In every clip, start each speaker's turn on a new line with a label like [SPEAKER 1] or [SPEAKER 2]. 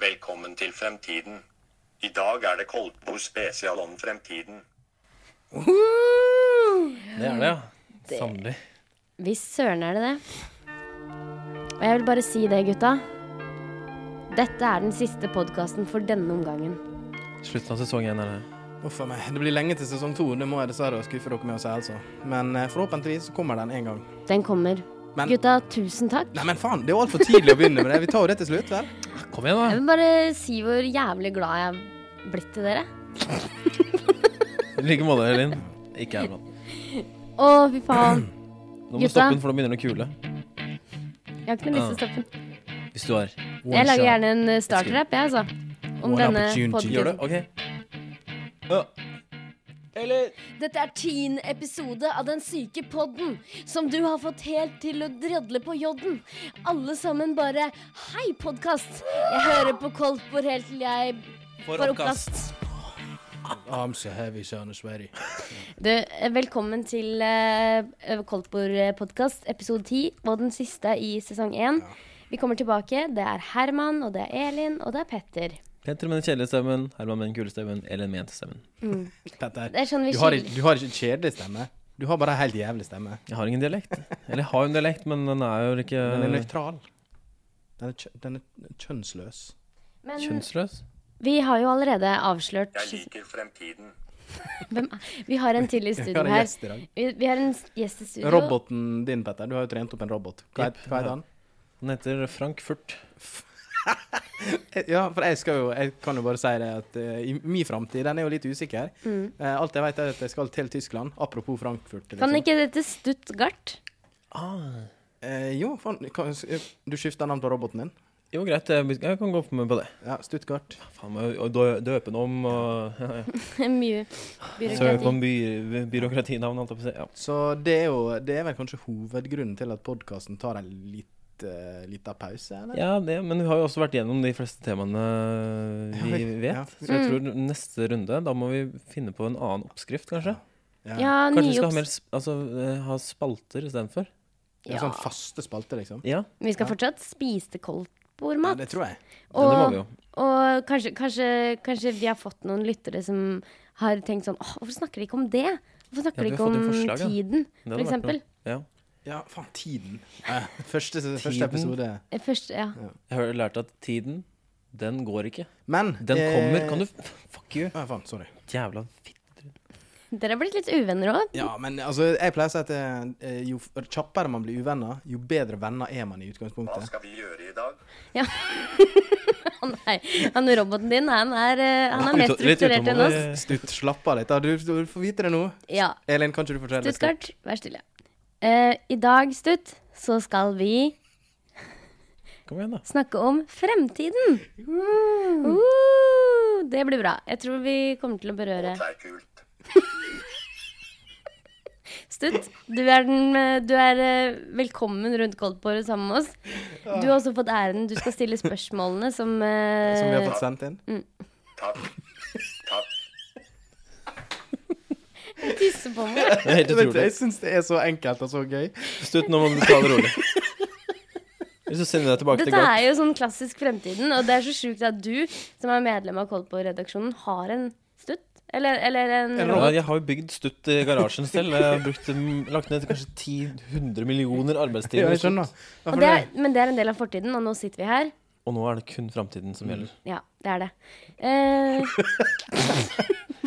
[SPEAKER 1] Velkommen til fremtiden. I dag er det Kolpo spesial om fremtiden.
[SPEAKER 2] Det er det, ja. Sannelig.
[SPEAKER 3] Hvis søren er det det. Og jeg vil bare si det, gutta. Dette er den siste podkasten for denne omgangen.
[SPEAKER 2] Slutten av sesong én er det.
[SPEAKER 4] Uff a meg. Det blir lenge til sesong to. Det må jeg dessverre skuffe dere med å si, altså. Men eh, forhåpentligvis så kommer den en gang.
[SPEAKER 3] Den kommer.
[SPEAKER 4] Men-
[SPEAKER 3] Gutta, tusen takk.
[SPEAKER 4] Nei, men faen, det er jo altfor tidlig å begynne med det. Vi tar jo det til slutt, vel?
[SPEAKER 2] Kom igjen,
[SPEAKER 3] Jeg
[SPEAKER 2] da.
[SPEAKER 3] vil bare si hvor jævlig glad jeg er blitt til dere.
[SPEAKER 2] I like måte, Elin. Ikke jeg, blant.
[SPEAKER 3] Å, fy faen.
[SPEAKER 2] Nå
[SPEAKER 3] Gutta.
[SPEAKER 2] må du stoppe den, for nå begynner den å kule.
[SPEAKER 3] Jeg har ikke noe lyst til å stoppe den.
[SPEAKER 2] Hvis du har one
[SPEAKER 3] Jeg lager
[SPEAKER 2] shot.
[SPEAKER 3] gjerne en eh, starter-app, jeg, altså. Om
[SPEAKER 4] One
[SPEAKER 3] denne
[SPEAKER 4] opportunity.
[SPEAKER 2] Gjør du?
[SPEAKER 3] podkasten.
[SPEAKER 2] OK. Ja. Eller
[SPEAKER 3] Dette er tiende episode av Den syke podden, som du har fått helt til å dredle på jodden. Alle sammen bare Hei, podkast! Jeg hører på Koltbord helt til jeg får oppkast.
[SPEAKER 4] I'm so heavy, son of sweaty.
[SPEAKER 3] Du, eh, velkommen til uh, Koltbord-podkast, episode ti, og den siste i sesong én. Vi kommer tilbake. Det er Herman, og det er Elin, og det er Petter.
[SPEAKER 2] Petter med den kjedelige stemmen, Herman med den kule stemmen, Elin med jentestemmen.
[SPEAKER 4] Petter,
[SPEAKER 3] Det er sånn vi
[SPEAKER 4] du har,
[SPEAKER 3] skil-
[SPEAKER 4] ikke, du har ikke kjedelig stemme. Du har bare en helt jævlig stemme.
[SPEAKER 2] Jeg har ingen dialekt. Eller jeg har jo en dialekt, men den er jo ikke
[SPEAKER 4] Den er nøytral. Eh. Den er, kjø den er kjønnsløs.
[SPEAKER 3] Men
[SPEAKER 2] kjønnsløs.
[SPEAKER 3] vi har jo allerede avslørt
[SPEAKER 1] Jeg liker fremtiden.
[SPEAKER 3] hvem er- Vi har en til i
[SPEAKER 4] Vi
[SPEAKER 3] studio
[SPEAKER 4] har en
[SPEAKER 3] her.
[SPEAKER 4] gjest i dag.
[SPEAKER 3] Vi, vi har en s- gjest i studio.
[SPEAKER 4] Roboten din, Petter, du har jo trent opp en robot. Hva het- hva heter han?
[SPEAKER 2] Den heter Frankfurt.
[SPEAKER 4] Eh, Ja, for jeg skal jo Jeg kan jo bare si det at eh, i min framtid, den er jo litt usikker. Eh, alt jeg vet, er at jeg skal til Tyskland. Apropos Frankfurt. Liksom.
[SPEAKER 3] Mm. Kan ikke dette Stuttgart?
[SPEAKER 2] Ah.
[SPEAKER 4] Eh, jo, faen, kan, eh, du skifter navn på roboten din.
[SPEAKER 2] Jo, greit, jeg jeg kan gå med på det.
[SPEAKER 4] Ja, Stuttgart.
[SPEAKER 2] Faen meg å dø- døpe den om og ja, ja.
[SPEAKER 3] Mye
[SPEAKER 2] Søke
[SPEAKER 3] byråkrati.
[SPEAKER 2] om by, byråkratinavn, holdt jeg på å si. Ja.
[SPEAKER 4] Så det er jo Det er vel kanskje hovedgrunnen til at podkasten tar en litt, eh, lita pause, eller?
[SPEAKER 2] Ja, det, men vi har jo også vært gjennom de fleste temaene vi
[SPEAKER 4] Ja, vi- ja. mm.
[SPEAKER 2] vet. Så jeg tror neste runde, da må vi finne på en annen oppskrift, kanskje.
[SPEAKER 3] Ja,
[SPEAKER 2] Kanskje
[SPEAKER 3] nye
[SPEAKER 2] vi skal ha,
[SPEAKER 3] obs-
[SPEAKER 2] mer, sp- altså, eh, ha spalter istedenfor.
[SPEAKER 4] En
[SPEAKER 3] Ja.
[SPEAKER 4] sånn faste spalte, liksom.
[SPEAKER 2] Ja,
[SPEAKER 3] Vi skal fortsatt spise til
[SPEAKER 4] Ja,
[SPEAKER 3] koldtbordmat.
[SPEAKER 4] det tror jeg.
[SPEAKER 2] ja, det må
[SPEAKER 3] Og,
[SPEAKER 2] vi jo.
[SPEAKER 3] og kanskje, kanskje, kanskje vi har fått noen lyttere som har tenkt sånn Åh, hvorfor snakker de ikke om det? Hvorfor
[SPEAKER 2] Ja,
[SPEAKER 3] snakker
[SPEAKER 2] vi
[SPEAKER 3] de
[SPEAKER 2] har
[SPEAKER 3] ikke om
[SPEAKER 2] fått inn forslag, ja.
[SPEAKER 3] tiden,
[SPEAKER 2] Det
[SPEAKER 3] for
[SPEAKER 2] hadde vært
[SPEAKER 3] eksempel?
[SPEAKER 2] noe. Ja.
[SPEAKER 4] Ja, faen, tiden. Eh, første, første episode.
[SPEAKER 3] Eh, Først, ja.
[SPEAKER 2] Jeg har lært at tiden, den går ikke.
[SPEAKER 4] Men
[SPEAKER 2] Den kommer. Kan du f- Fuck you.
[SPEAKER 4] Å, faen, sorry.
[SPEAKER 2] Jævla fitt.
[SPEAKER 3] Dere har blitt litt uvenner òg.
[SPEAKER 4] Ja, men altså, jeg pleier å si at eh, jo f- kjappere man blir uvenner, jo bedre venner er man i
[SPEAKER 1] Hva
[SPEAKER 4] utgangspunktet.
[SPEAKER 1] skal vi gjøre i dag?
[SPEAKER 3] Nei, han roboten din, han er, eh, han er mer
[SPEAKER 2] Ut- litt
[SPEAKER 3] strukturert enn oss.
[SPEAKER 2] utålmodig.
[SPEAKER 4] Stutt, slapp av litt. da. Du, du får vite det nå.
[SPEAKER 3] Ja.
[SPEAKER 4] Elin, kan ikke du fortelle litt?
[SPEAKER 3] Stuttgart, vær stille. Eh, I dag, Stutt, så skal vi
[SPEAKER 2] Kom igjen, da.
[SPEAKER 3] snakke om fremtiden. Uh, det blir bra. Jeg tror vi kommer til å berøre
[SPEAKER 1] Det er kult.
[SPEAKER 3] Stutt. Du er, den, eh, du er eh, velkommen rundt koldtbordet sammen med oss. Du har også fått æren. Du skal stille spørsmålene som, eh,
[SPEAKER 4] Som vi har fått sendt inn?
[SPEAKER 1] Takk. Takk.
[SPEAKER 3] tisser på meg.
[SPEAKER 2] Det er helt
[SPEAKER 4] Vet du,
[SPEAKER 2] utrolig.
[SPEAKER 4] jeg syns det er så enkelt og så gøy.
[SPEAKER 2] Slutt, nå må du ta det rolig. Hvis du sender deg tilbake til
[SPEAKER 3] Dette
[SPEAKER 2] Gart
[SPEAKER 3] er jo sånn klassisk fremtiden, og det er så sjukt at du, som er medlem av Koldtbord-redaksjonen, har en stutt. Eller, eller en
[SPEAKER 4] En
[SPEAKER 2] Ja, jeg har jo bygd stutt i garasjen selv. Jeg har brukt, mm, lagt ned kanskje 10-100 millioner
[SPEAKER 4] Ja,
[SPEAKER 2] arbeidstimer. i
[SPEAKER 4] jeg
[SPEAKER 2] stutt.
[SPEAKER 4] skjønner. Ja,
[SPEAKER 3] Og
[SPEAKER 4] for
[SPEAKER 3] det
[SPEAKER 4] det-
[SPEAKER 3] er, men det er en del av fortiden, og nå sitter vi her.
[SPEAKER 2] Og nå er det kun framtiden
[SPEAKER 4] Mm.
[SPEAKER 2] som gjelder.
[SPEAKER 3] Ja, det er det. Eh,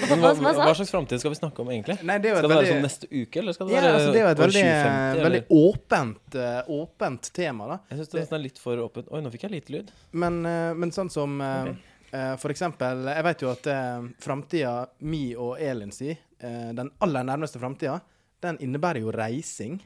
[SPEAKER 2] Men hva,
[SPEAKER 3] hva, hva sa
[SPEAKER 2] hva
[SPEAKER 3] han?
[SPEAKER 2] slags framtid skal vi snakke om, egentlig?
[SPEAKER 4] Nei, det er jo
[SPEAKER 2] Skal
[SPEAKER 4] et
[SPEAKER 2] det være
[SPEAKER 4] veldig-
[SPEAKER 2] sånn neste uke, eller skal det
[SPEAKER 4] Ja,
[SPEAKER 2] være
[SPEAKER 4] altså, det er jo et
[SPEAKER 2] år
[SPEAKER 4] veldig,
[SPEAKER 2] 2050?
[SPEAKER 4] veldig
[SPEAKER 2] Eller?
[SPEAKER 4] åpent, eh, åpent tema, da.
[SPEAKER 2] Jeg syns nesten er litt for åpent. Oi, nå fikk jeg lite lyd.
[SPEAKER 4] Men, eh, men sånn som eh, eh, for eksempel Jeg vet jo at uh, framtida mi og Elin si, eh, den aller nærmeste framtida, den innebærer jo reising.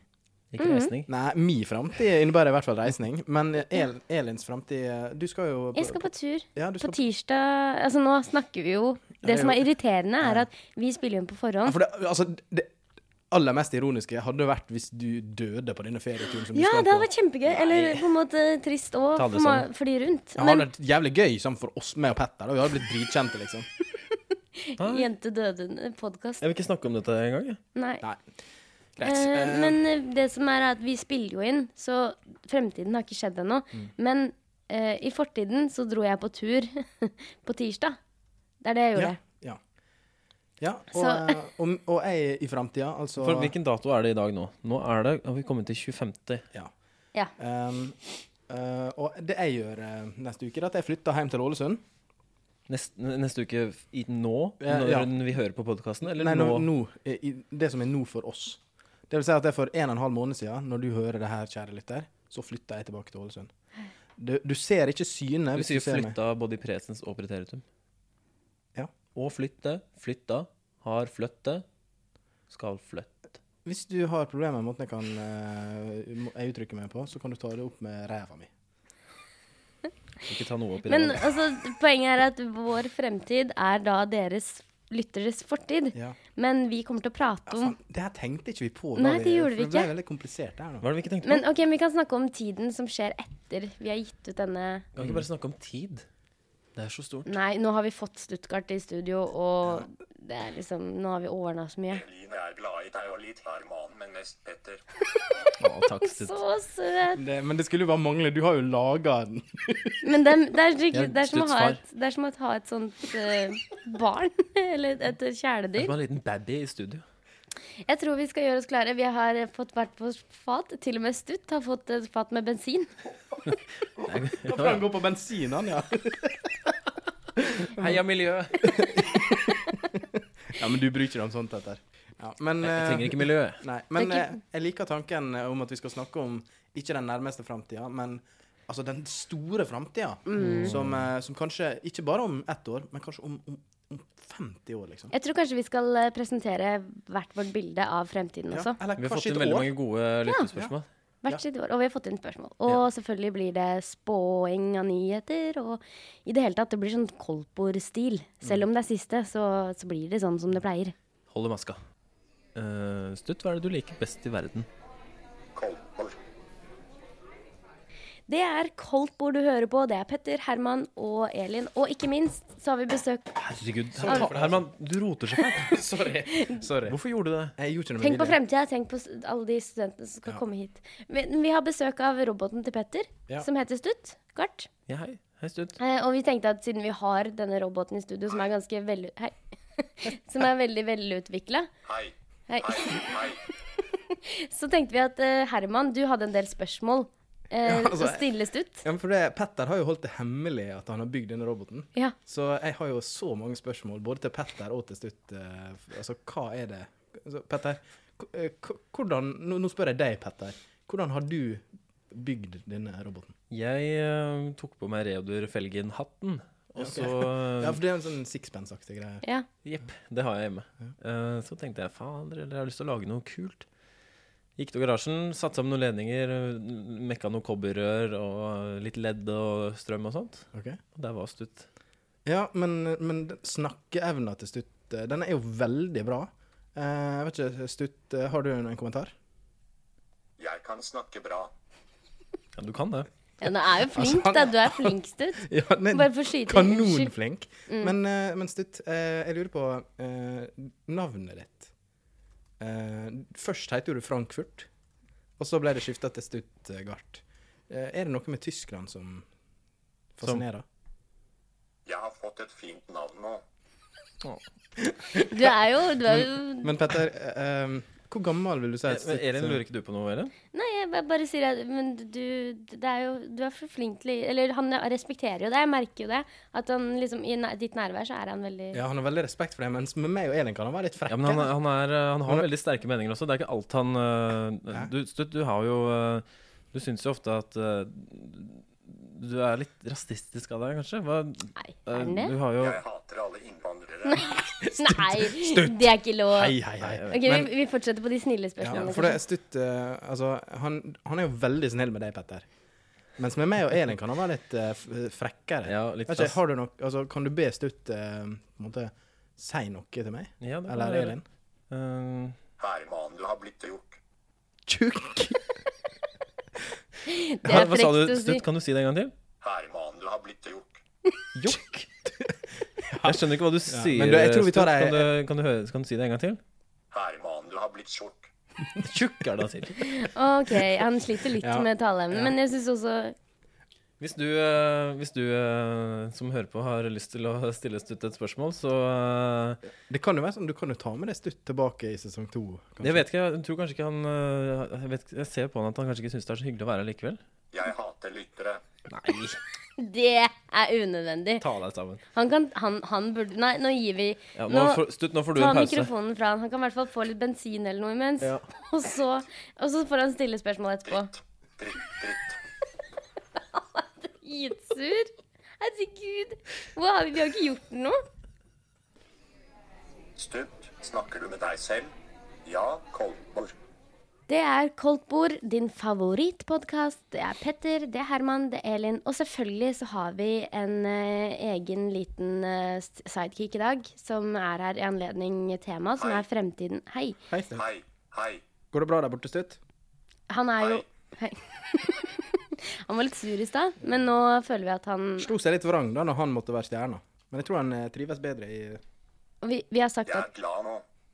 [SPEAKER 2] Ikke reisning.
[SPEAKER 4] Nei, mi framtid innebærer i hvert fall reisning. Men eh, El Elins framtid eh, Du skal jo
[SPEAKER 3] Jeg skal på tur.
[SPEAKER 4] Ja, du
[SPEAKER 3] På
[SPEAKER 4] skal på
[SPEAKER 3] tirsdag Altså, nå snakker vi jo Det som er irriterende, er at vi spiller jo inn på
[SPEAKER 4] ja,
[SPEAKER 3] forhånd.
[SPEAKER 4] for det, altså, det aller mest ironiske hadde jo vært hvis du døde på denne ferieturen. Som
[SPEAKER 3] Ja,
[SPEAKER 4] du skal
[SPEAKER 3] det hadde
[SPEAKER 4] på.
[SPEAKER 3] vært kjempegøy. Eller på en måte trist òg,
[SPEAKER 2] Ta
[SPEAKER 3] for,
[SPEAKER 2] det
[SPEAKER 3] ma- for de rundt.
[SPEAKER 4] Det hadde
[SPEAKER 3] Men
[SPEAKER 4] vært jævlig gøy sammen for oss, meg og Petter. Da. Vi hadde blitt dritkjente, liksom.
[SPEAKER 3] Jente døde-podkast.
[SPEAKER 2] Jeg vil ikke snakke om dette engang. jeg.
[SPEAKER 3] Nei.
[SPEAKER 4] Nei. Greit.
[SPEAKER 3] Eh,
[SPEAKER 4] Eh, Mm.
[SPEAKER 3] men eh, det som er, er at vi spiller jo inn, så fremtiden har ikke skjedd ennå. Men eh, I fortiden så dro jeg på tur på tirsdag. Det er det jeg gjorde.
[SPEAKER 4] Ja. ja og,
[SPEAKER 3] Så-
[SPEAKER 4] eh, og, og jeg i framtida, altså
[SPEAKER 2] For hvilken dato er det i dag nå? Nå er det, har vi kommet til 25.
[SPEAKER 4] ja.
[SPEAKER 3] Ja.
[SPEAKER 4] Ehm, eh, og det jeg gjør eh, neste uke, er at jeg flytter hjem til Ålesund.
[SPEAKER 2] Neste, neste uke i, nå?
[SPEAKER 4] Ja,
[SPEAKER 2] Når
[SPEAKER 4] ja.
[SPEAKER 2] vi hører på podkasten? Eller
[SPEAKER 4] Nei,
[SPEAKER 2] nå?
[SPEAKER 4] nå, nå, i, i- det som er nå for oss. Det vil si at det er for en og en halv måned siden, når du hører det her, kjære lytter, så flytter jeg tilbake til Ålesund. Du, du ser ikke synet.
[SPEAKER 2] Du
[SPEAKER 4] hvis
[SPEAKER 2] sier
[SPEAKER 4] ser meg.
[SPEAKER 2] flytta både i presens og preteritum.
[SPEAKER 4] Ja.
[SPEAKER 2] Og flytte, flytta, har flytte, skal flytte.
[SPEAKER 4] Hvis du har problemer med måten jeg kan eh, må- jeg uttrykker meg på, så kan du ta det opp med ræva mi.
[SPEAKER 2] Ikke ta noe opp i
[SPEAKER 3] Men
[SPEAKER 2] det.
[SPEAKER 3] altså, poenget er at vår fremtid er da deres lytteres fortid.
[SPEAKER 4] Ja.
[SPEAKER 3] Men vi kommer til å prate om
[SPEAKER 4] Faen, det her tenkte ikke vi på. da
[SPEAKER 3] Nei, det gjorde vi
[SPEAKER 4] for
[SPEAKER 3] ikke.
[SPEAKER 4] Det ble veldig komplisert det her nå.
[SPEAKER 2] Hva er det vi ikke tenkte på?
[SPEAKER 3] Men ok, vi kan snakke om tiden som skjer etter vi har gitt ut denne
[SPEAKER 2] Kan vi ikke bare snakke om tid? Det er så stort.
[SPEAKER 3] Nei, nå har vi fått Stuttgart i studio, og det er liksom Nå har vi ordna så mye.
[SPEAKER 1] Eline er glad i deg og litt Herman, men mest Petter.
[SPEAKER 2] Å, takk, Stutt.
[SPEAKER 3] Så søt!
[SPEAKER 4] Det, men det skulle jo bare mangle. Du har jo laga den.
[SPEAKER 3] Men det, det er skikkelig
[SPEAKER 2] Jeg er
[SPEAKER 3] Det er som å ha
[SPEAKER 2] Stutts
[SPEAKER 3] et, det er som å ha et sånt eh, barn. Eller et
[SPEAKER 2] Det
[SPEAKER 3] kjæledyr.
[SPEAKER 2] var en liten baby i studio.
[SPEAKER 3] Jeg tror vi skal gjøre oss klare. Vi har fått hvert vårt fat. Til og med Stutt har fått et fat med bensin.
[SPEAKER 4] Da får han gå på bensinen, ja.
[SPEAKER 2] Heia miljø!
[SPEAKER 4] Ja, Men du bryr ikke deg om sånt, Petter. Ja, men
[SPEAKER 2] Jeg trenger ikke miljø.
[SPEAKER 4] Nei, men
[SPEAKER 3] Det er
[SPEAKER 4] eh, jeg liker tanken om at vi skal snakke om ikke den nærmeste framtida, men altså den store framtida.
[SPEAKER 2] Mm.
[SPEAKER 4] Som, eh, som kanskje Ikke bare om ett år, men kanskje om, om, om 50 år, liksom.
[SPEAKER 3] Jeg tror kanskje vi skal eh, presentere hvert vårt bilde av fremtiden også.
[SPEAKER 4] eller
[SPEAKER 2] Altså. Vi har fått
[SPEAKER 4] kanskje
[SPEAKER 2] inn
[SPEAKER 4] et
[SPEAKER 2] veldig
[SPEAKER 4] år.
[SPEAKER 2] mange gode lyttespørsmål.
[SPEAKER 3] Hvert sitt år. Og vi har fått inn spørsmål. Og selvfølgelig blir det spåing av nyheter. Og i det hele tatt, det blir sånn Kolpor-stil. Selv
[SPEAKER 4] Mm.
[SPEAKER 3] om det er siste, så, så blir det sånn som det pleier.
[SPEAKER 2] Holder maska. Eh, Stutt, hva er det du liker best i verden?
[SPEAKER 1] Kolbor.
[SPEAKER 3] Det er Kolpor du hører på. Det er Petter, Herman og Elin. Og ikke minst så har vi besøk
[SPEAKER 2] Herregud, Her- Herman, du roter så fælt.
[SPEAKER 4] Sorry.
[SPEAKER 2] Hvorfor gjorde du det?
[SPEAKER 4] Jeg gjorde ikke noe
[SPEAKER 3] Tenk
[SPEAKER 4] med
[SPEAKER 3] på
[SPEAKER 4] vilje.
[SPEAKER 3] fremtida. Tenk på s- alle de studentene som skal komme hit. Men vi har besøk av roboten til Petter,
[SPEAKER 4] Ja.
[SPEAKER 3] som heter Stutt. Gart.
[SPEAKER 2] Ja, hei. Hei, Stutt.
[SPEAKER 3] Eh, og vi tenkte at siden vi har denne roboten i studio, som er ganske veldig Hei. Som er veldig velutvikla,
[SPEAKER 1] Hei,
[SPEAKER 3] hei,
[SPEAKER 1] hei, hei.
[SPEAKER 3] så tenkte vi at eh, Herman, du hadde en del spørsmål. Eh,
[SPEAKER 4] Ja, altså,
[SPEAKER 3] å stille Stutt.
[SPEAKER 4] Ja, men for det, Petter har jo holdt det hemmelig at han har bygd denne roboten.
[SPEAKER 3] Ja.
[SPEAKER 4] Så jeg har jo så mange spørsmål, både til Petter og til Stutt. eh, f- altså, hva er det altså, Petter, k- eh, k- hvordan nå, nå spør jeg deg, Petter. Hvordan har du bygd denne roboten?
[SPEAKER 2] Jeg eh, tok på meg Reodor Felgen-hatten, og så eh,
[SPEAKER 4] Ja, for det er jo en sånn sixpence-aktig greie.
[SPEAKER 3] ja.
[SPEAKER 2] Jepp, det har jeg hjemme. Eh, så tenkte jeg faen, dere, jeg har lyst til å lage noe kult. Gikk til garasjen, satte sammen noen ledninger, eh, mekka noen kobberrør og eh, litt ledd og strøm og sånt.
[SPEAKER 4] Ok?
[SPEAKER 2] Og der var Stutt.
[SPEAKER 4] Ja, men, men den snakkeevna til Stutt, eh, den er jo veldig bra. Eh, Jeg vet ikke, Stutt, eh, har du en en kommentar?
[SPEAKER 1] Jeg kan snakke bra.
[SPEAKER 2] Ja, du kan det.
[SPEAKER 3] ja, du er jo
[SPEAKER 4] Altså,
[SPEAKER 3] flink, da. Du er flink, Stutt.
[SPEAKER 4] Ja, nei,
[SPEAKER 3] Bare for å Mm. skyte inn, unnskyld.
[SPEAKER 4] Kanonflink. Men, eh, men Stutt, eh, jeg lurer på eh, navnet ditt. Eh, først het jo du Frankfurt, og så ble det skifta til Stuttgart. Eh, er det noe med Tyskland som
[SPEAKER 2] Som-
[SPEAKER 4] fascinerer?
[SPEAKER 1] Jeg har fått et fint navn nå.
[SPEAKER 3] Du er jo, du er jo
[SPEAKER 4] Men Petter, eh, eh, hvor gammel vil du si at
[SPEAKER 2] Men Elin, lurer ikke du på noe, Elin?
[SPEAKER 3] Nei, jeg ba- bare sier at Men du, det er jo, du er for flink til Eller han respekterer jo det. Jeg merker jo det. At han liksom I næ- ditt nærvær så er han veldig
[SPEAKER 4] Ja, han har veldig respekt for det, mens med meg og Elin kan han være litt frekk.
[SPEAKER 2] Ja, men han, han, er, eh, han har veldig sterke meninger også. Det er ikke alt han eh,
[SPEAKER 4] Hæ?
[SPEAKER 2] du, Stutt, du har jo eh, Du syns jo ofte at eh, du er litt rasistisk av deg, kanskje? Hva,
[SPEAKER 3] Nei, er
[SPEAKER 2] eh,
[SPEAKER 3] han det?
[SPEAKER 2] du har jo
[SPEAKER 1] Jeg hater alle innvandrere.
[SPEAKER 3] Nei, det er ikke lov.
[SPEAKER 4] Hei, hei, hei.
[SPEAKER 3] Ok,
[SPEAKER 4] Men-
[SPEAKER 3] vi, vi fortsetter på de snille
[SPEAKER 4] Ja,
[SPEAKER 3] spørsmålene.
[SPEAKER 4] for det er Stutt eh, altså, han, han er jo veldig snill med deg, Petter. Mens med meg og Elin kan han være litt eh, f- frekkere.
[SPEAKER 2] Ja, litt
[SPEAKER 4] Vet ikke,
[SPEAKER 2] krass.
[SPEAKER 4] har du nok, altså, kan du be Stutt eh, på en måte, si noe til meg?
[SPEAKER 2] Ja, det kan
[SPEAKER 4] Eller
[SPEAKER 2] jeg gjøre.
[SPEAKER 4] Elin?
[SPEAKER 2] eh,
[SPEAKER 1] Herman, du har blitt tjukk.
[SPEAKER 4] Tjukk!
[SPEAKER 3] kanskje. det
[SPEAKER 2] Hva,
[SPEAKER 3] er
[SPEAKER 2] hva sa
[SPEAKER 3] frekt
[SPEAKER 2] du,
[SPEAKER 3] å si.
[SPEAKER 2] Stutt? Kan du si det en gang til?
[SPEAKER 1] Herman, du har blitt tjukk.
[SPEAKER 2] Jokk! Jeg skjønner ikke hva du sier.
[SPEAKER 4] men du, jeg tror vi tar
[SPEAKER 2] Stutt.
[SPEAKER 4] ei-
[SPEAKER 2] kan, du, kan, du høre, kan du si det en gang til?
[SPEAKER 1] Herman, du har blitt tjukk.
[SPEAKER 2] Tjukk er det han sier.
[SPEAKER 3] Ok, han sliter litt
[SPEAKER 4] Ja.
[SPEAKER 3] med taleevnen, men jeg syns også
[SPEAKER 2] Hvis du, eh, hvis du eh, som hører på, har lyst til å stille Stutt et spørsmål, så eh,
[SPEAKER 4] Det kan jo være sånn, Du kan jo ta med deg Stutt tilbake i sesong to. kanskje.
[SPEAKER 2] Jeg vet ikke, jeg tror kanskje ikke han eh, jeg, vet, jeg ser på han at han kanskje ikke syns det er så hyggelig å være her likevel.
[SPEAKER 1] Jeg hater lyttere.
[SPEAKER 2] Nei,
[SPEAKER 3] Det er unødvendig.
[SPEAKER 2] ta deg sammen.
[SPEAKER 3] Han kan Han, han burde Nei, nå gir vi
[SPEAKER 2] Ja, nå,
[SPEAKER 3] Nå
[SPEAKER 2] får- Stutt, nå får du
[SPEAKER 3] ta
[SPEAKER 2] en pause.
[SPEAKER 3] mikrofonen fra han. Han kan i hvert fall få litt bensin eller noe imens.
[SPEAKER 4] Ja.
[SPEAKER 3] Og, så, og så får han stille spørsmål etterpå.
[SPEAKER 1] Dritt. Dritt, dritt.
[SPEAKER 3] Gitsur. Herregud. Hvor har vi, vi har ikke gjort noe.
[SPEAKER 1] Stutt. Snakker du med deg selv? Ja, Koltbord.
[SPEAKER 3] Det er Koldtbord, din favorittpodkast. Det er Petter, det er Herman, det er Elin. Og selvfølgelig så har vi en eh, egen liten eh, s- sidekick i dag, som er her i anledning temaet, som
[SPEAKER 1] Hei.
[SPEAKER 3] er fremtiden. Hei.
[SPEAKER 4] Hei, Stutt.
[SPEAKER 1] Hei, hei.
[SPEAKER 4] Går det bra der borte, Stutt?
[SPEAKER 3] Han er jo Hei. han var litt sur i stad, men nå føler vi at han
[SPEAKER 4] Slo seg litt vrang da når han måtte være stjerna. Men jeg tror han eh, trives bedre i
[SPEAKER 3] og vi, vi har sagt
[SPEAKER 1] Jeg
[SPEAKER 3] at
[SPEAKER 1] er glad nå.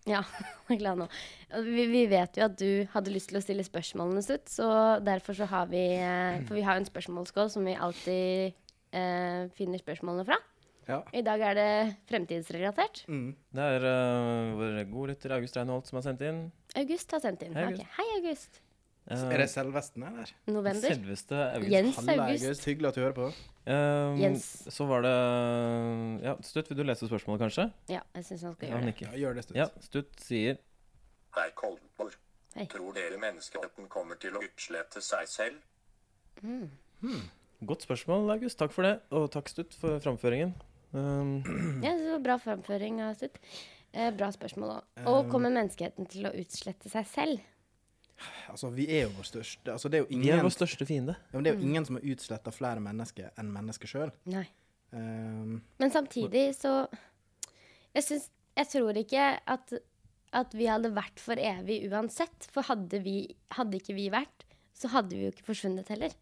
[SPEAKER 3] Ja, jeg er glad nå. Vi, vi vet jo at du hadde lyst til å stille spørsmålene sitt, så derfor så har vi eh, For vi har jo en spørsmålsskål som vi alltid eh, finner spørsmålene fra.
[SPEAKER 4] Ja.
[SPEAKER 3] I dag er det fremtidsrelatert.
[SPEAKER 2] Det er eh, vår gode lytter August Reinholt som har sendt inn.
[SPEAKER 3] August har sendt inn.
[SPEAKER 2] Hei,
[SPEAKER 3] Hei,
[SPEAKER 2] August.
[SPEAKER 3] August. Hei, August.
[SPEAKER 2] Eh,
[SPEAKER 4] Er det selvvesten, eller?
[SPEAKER 3] November.
[SPEAKER 2] Selveste August.
[SPEAKER 3] Jens
[SPEAKER 4] Halle
[SPEAKER 3] August.
[SPEAKER 4] August, hyggelig at du hører på.
[SPEAKER 2] Eh,
[SPEAKER 3] Jens.
[SPEAKER 2] Så var det Ja, Stutt, vil du lese spørsmålet, kanskje?
[SPEAKER 3] Ja, jeg syns han skal
[SPEAKER 2] Ja,
[SPEAKER 3] gjøre det.
[SPEAKER 2] nikker.
[SPEAKER 4] Ja, gjør det, Stutt.
[SPEAKER 2] Ja, Stutt sier
[SPEAKER 1] Hei, Koltbord.
[SPEAKER 3] Hei.
[SPEAKER 1] Tror dere menneskeheten kommer til å utslette seg selv?
[SPEAKER 2] Godt spørsmål, August. Takk for det. Og takk, Stutt, for framføringen. Um,
[SPEAKER 3] Ja, så Bra fremføring av sitt. Eh, bra spørsmål òg.
[SPEAKER 2] Um.
[SPEAKER 3] Og kommer menneskeheten til å utslette seg selv?
[SPEAKER 4] Altså, vi er jo vår største altså, det, er jo
[SPEAKER 2] vi er
[SPEAKER 4] ingen,
[SPEAKER 2] vår største fiende.
[SPEAKER 4] ja, men det er jo ingen som har utsletta flere mennesker enn mennesket sjøl.
[SPEAKER 3] Nei.
[SPEAKER 4] Um,
[SPEAKER 3] Men samtidig så Jeg, syns- jeg tror ikke at, at vi hadde vært for evig uansett. For hadde, vi, hadde ikke vi vært, så hadde vi jo ikke forsvunnet heller.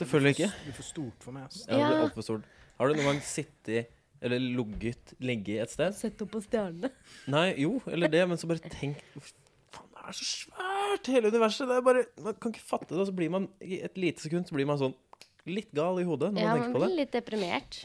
[SPEAKER 2] Selvfølgelig ikke.
[SPEAKER 4] det er for stort for meg, altså.
[SPEAKER 2] Ja, det
[SPEAKER 3] Ja.
[SPEAKER 2] blir altfor stort. Har du noen gang sittet eller ligget ligget et sted?
[SPEAKER 3] Sett opp på stjernene.
[SPEAKER 2] Nei, jo, eller det, men så bare tenk Uff, Faen, det er så svært, hele universet. Det er bare, man kan ikke fatte det. Og så blir man i et lite sekund så blir man sånn litt gal i hodet når
[SPEAKER 3] Ja,
[SPEAKER 2] man
[SPEAKER 3] man
[SPEAKER 2] tenker på det.
[SPEAKER 3] blir litt deprimert.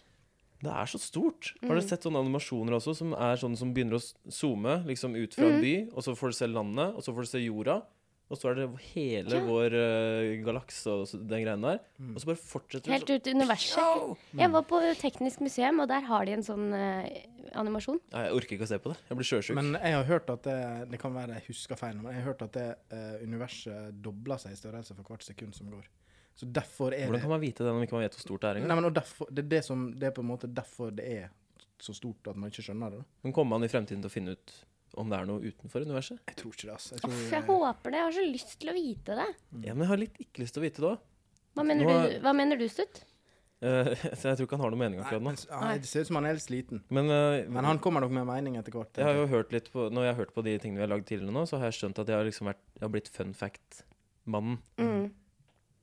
[SPEAKER 2] Det er så stort. Har dere sett sånne animasjoner også, som er sånne som begynner å s- zoome liksom ut fra en by, og så får du se landet, og så får du se jorda, og så er det hele vår uh, galakse og så- den greien der, og
[SPEAKER 4] Mm.
[SPEAKER 2] så bare fortsetter
[SPEAKER 3] Helt
[SPEAKER 2] det.
[SPEAKER 3] ut i universet.
[SPEAKER 2] Wow!
[SPEAKER 3] Jeg var på Teknisk museum, og der har de en sånn eh, animasjon.
[SPEAKER 2] Nei, jeg orker ikke å se på det. Jeg blir sjøsjuk.
[SPEAKER 4] Men jeg har hørt at det, det kan være jeg husker feil, nå, men jeg har hørt at det eh, universet dobler seg i størrelse for hvert sekund som går. Så derfor er
[SPEAKER 2] Hvordan
[SPEAKER 4] det
[SPEAKER 2] kan man vite det når man ikke vet hvor stort det er
[SPEAKER 4] eh, Nei,
[SPEAKER 2] engang?
[SPEAKER 4] men og derfor, det, er det, som, det er på en måte derfor det er så stort at man ikke skjønner det. da.
[SPEAKER 2] Men kommer man i fremtiden til å finne ut om det er noe utenfor universet?
[SPEAKER 4] Jeg tror ikke det, altså. Jeg
[SPEAKER 3] Uff,
[SPEAKER 4] tror,
[SPEAKER 3] jeg håper det. Jeg har så lyst til å vite det.
[SPEAKER 4] Mm.
[SPEAKER 2] Ja, men jeg har litt ikke lyst til å vite det òg.
[SPEAKER 3] Hva mener
[SPEAKER 2] Nå-
[SPEAKER 3] du, hva mener du Stutt?
[SPEAKER 2] så jeg tror ikke han har noen mening akkurat
[SPEAKER 4] Nei,
[SPEAKER 2] nå.
[SPEAKER 4] men s- ja, det ser ut som han er litt sliten.
[SPEAKER 2] Men, eh,
[SPEAKER 4] Men han kommer nok med mening etter hvert.
[SPEAKER 2] Jeg har jo hørt litt på, når jeg har hørt på de tingene vi har lagd tidligere nå, så har jeg skjønt at jeg har, liksom vært, jeg har blitt fun fact-mannen.
[SPEAKER 4] Mm.
[SPEAKER 3] Mm.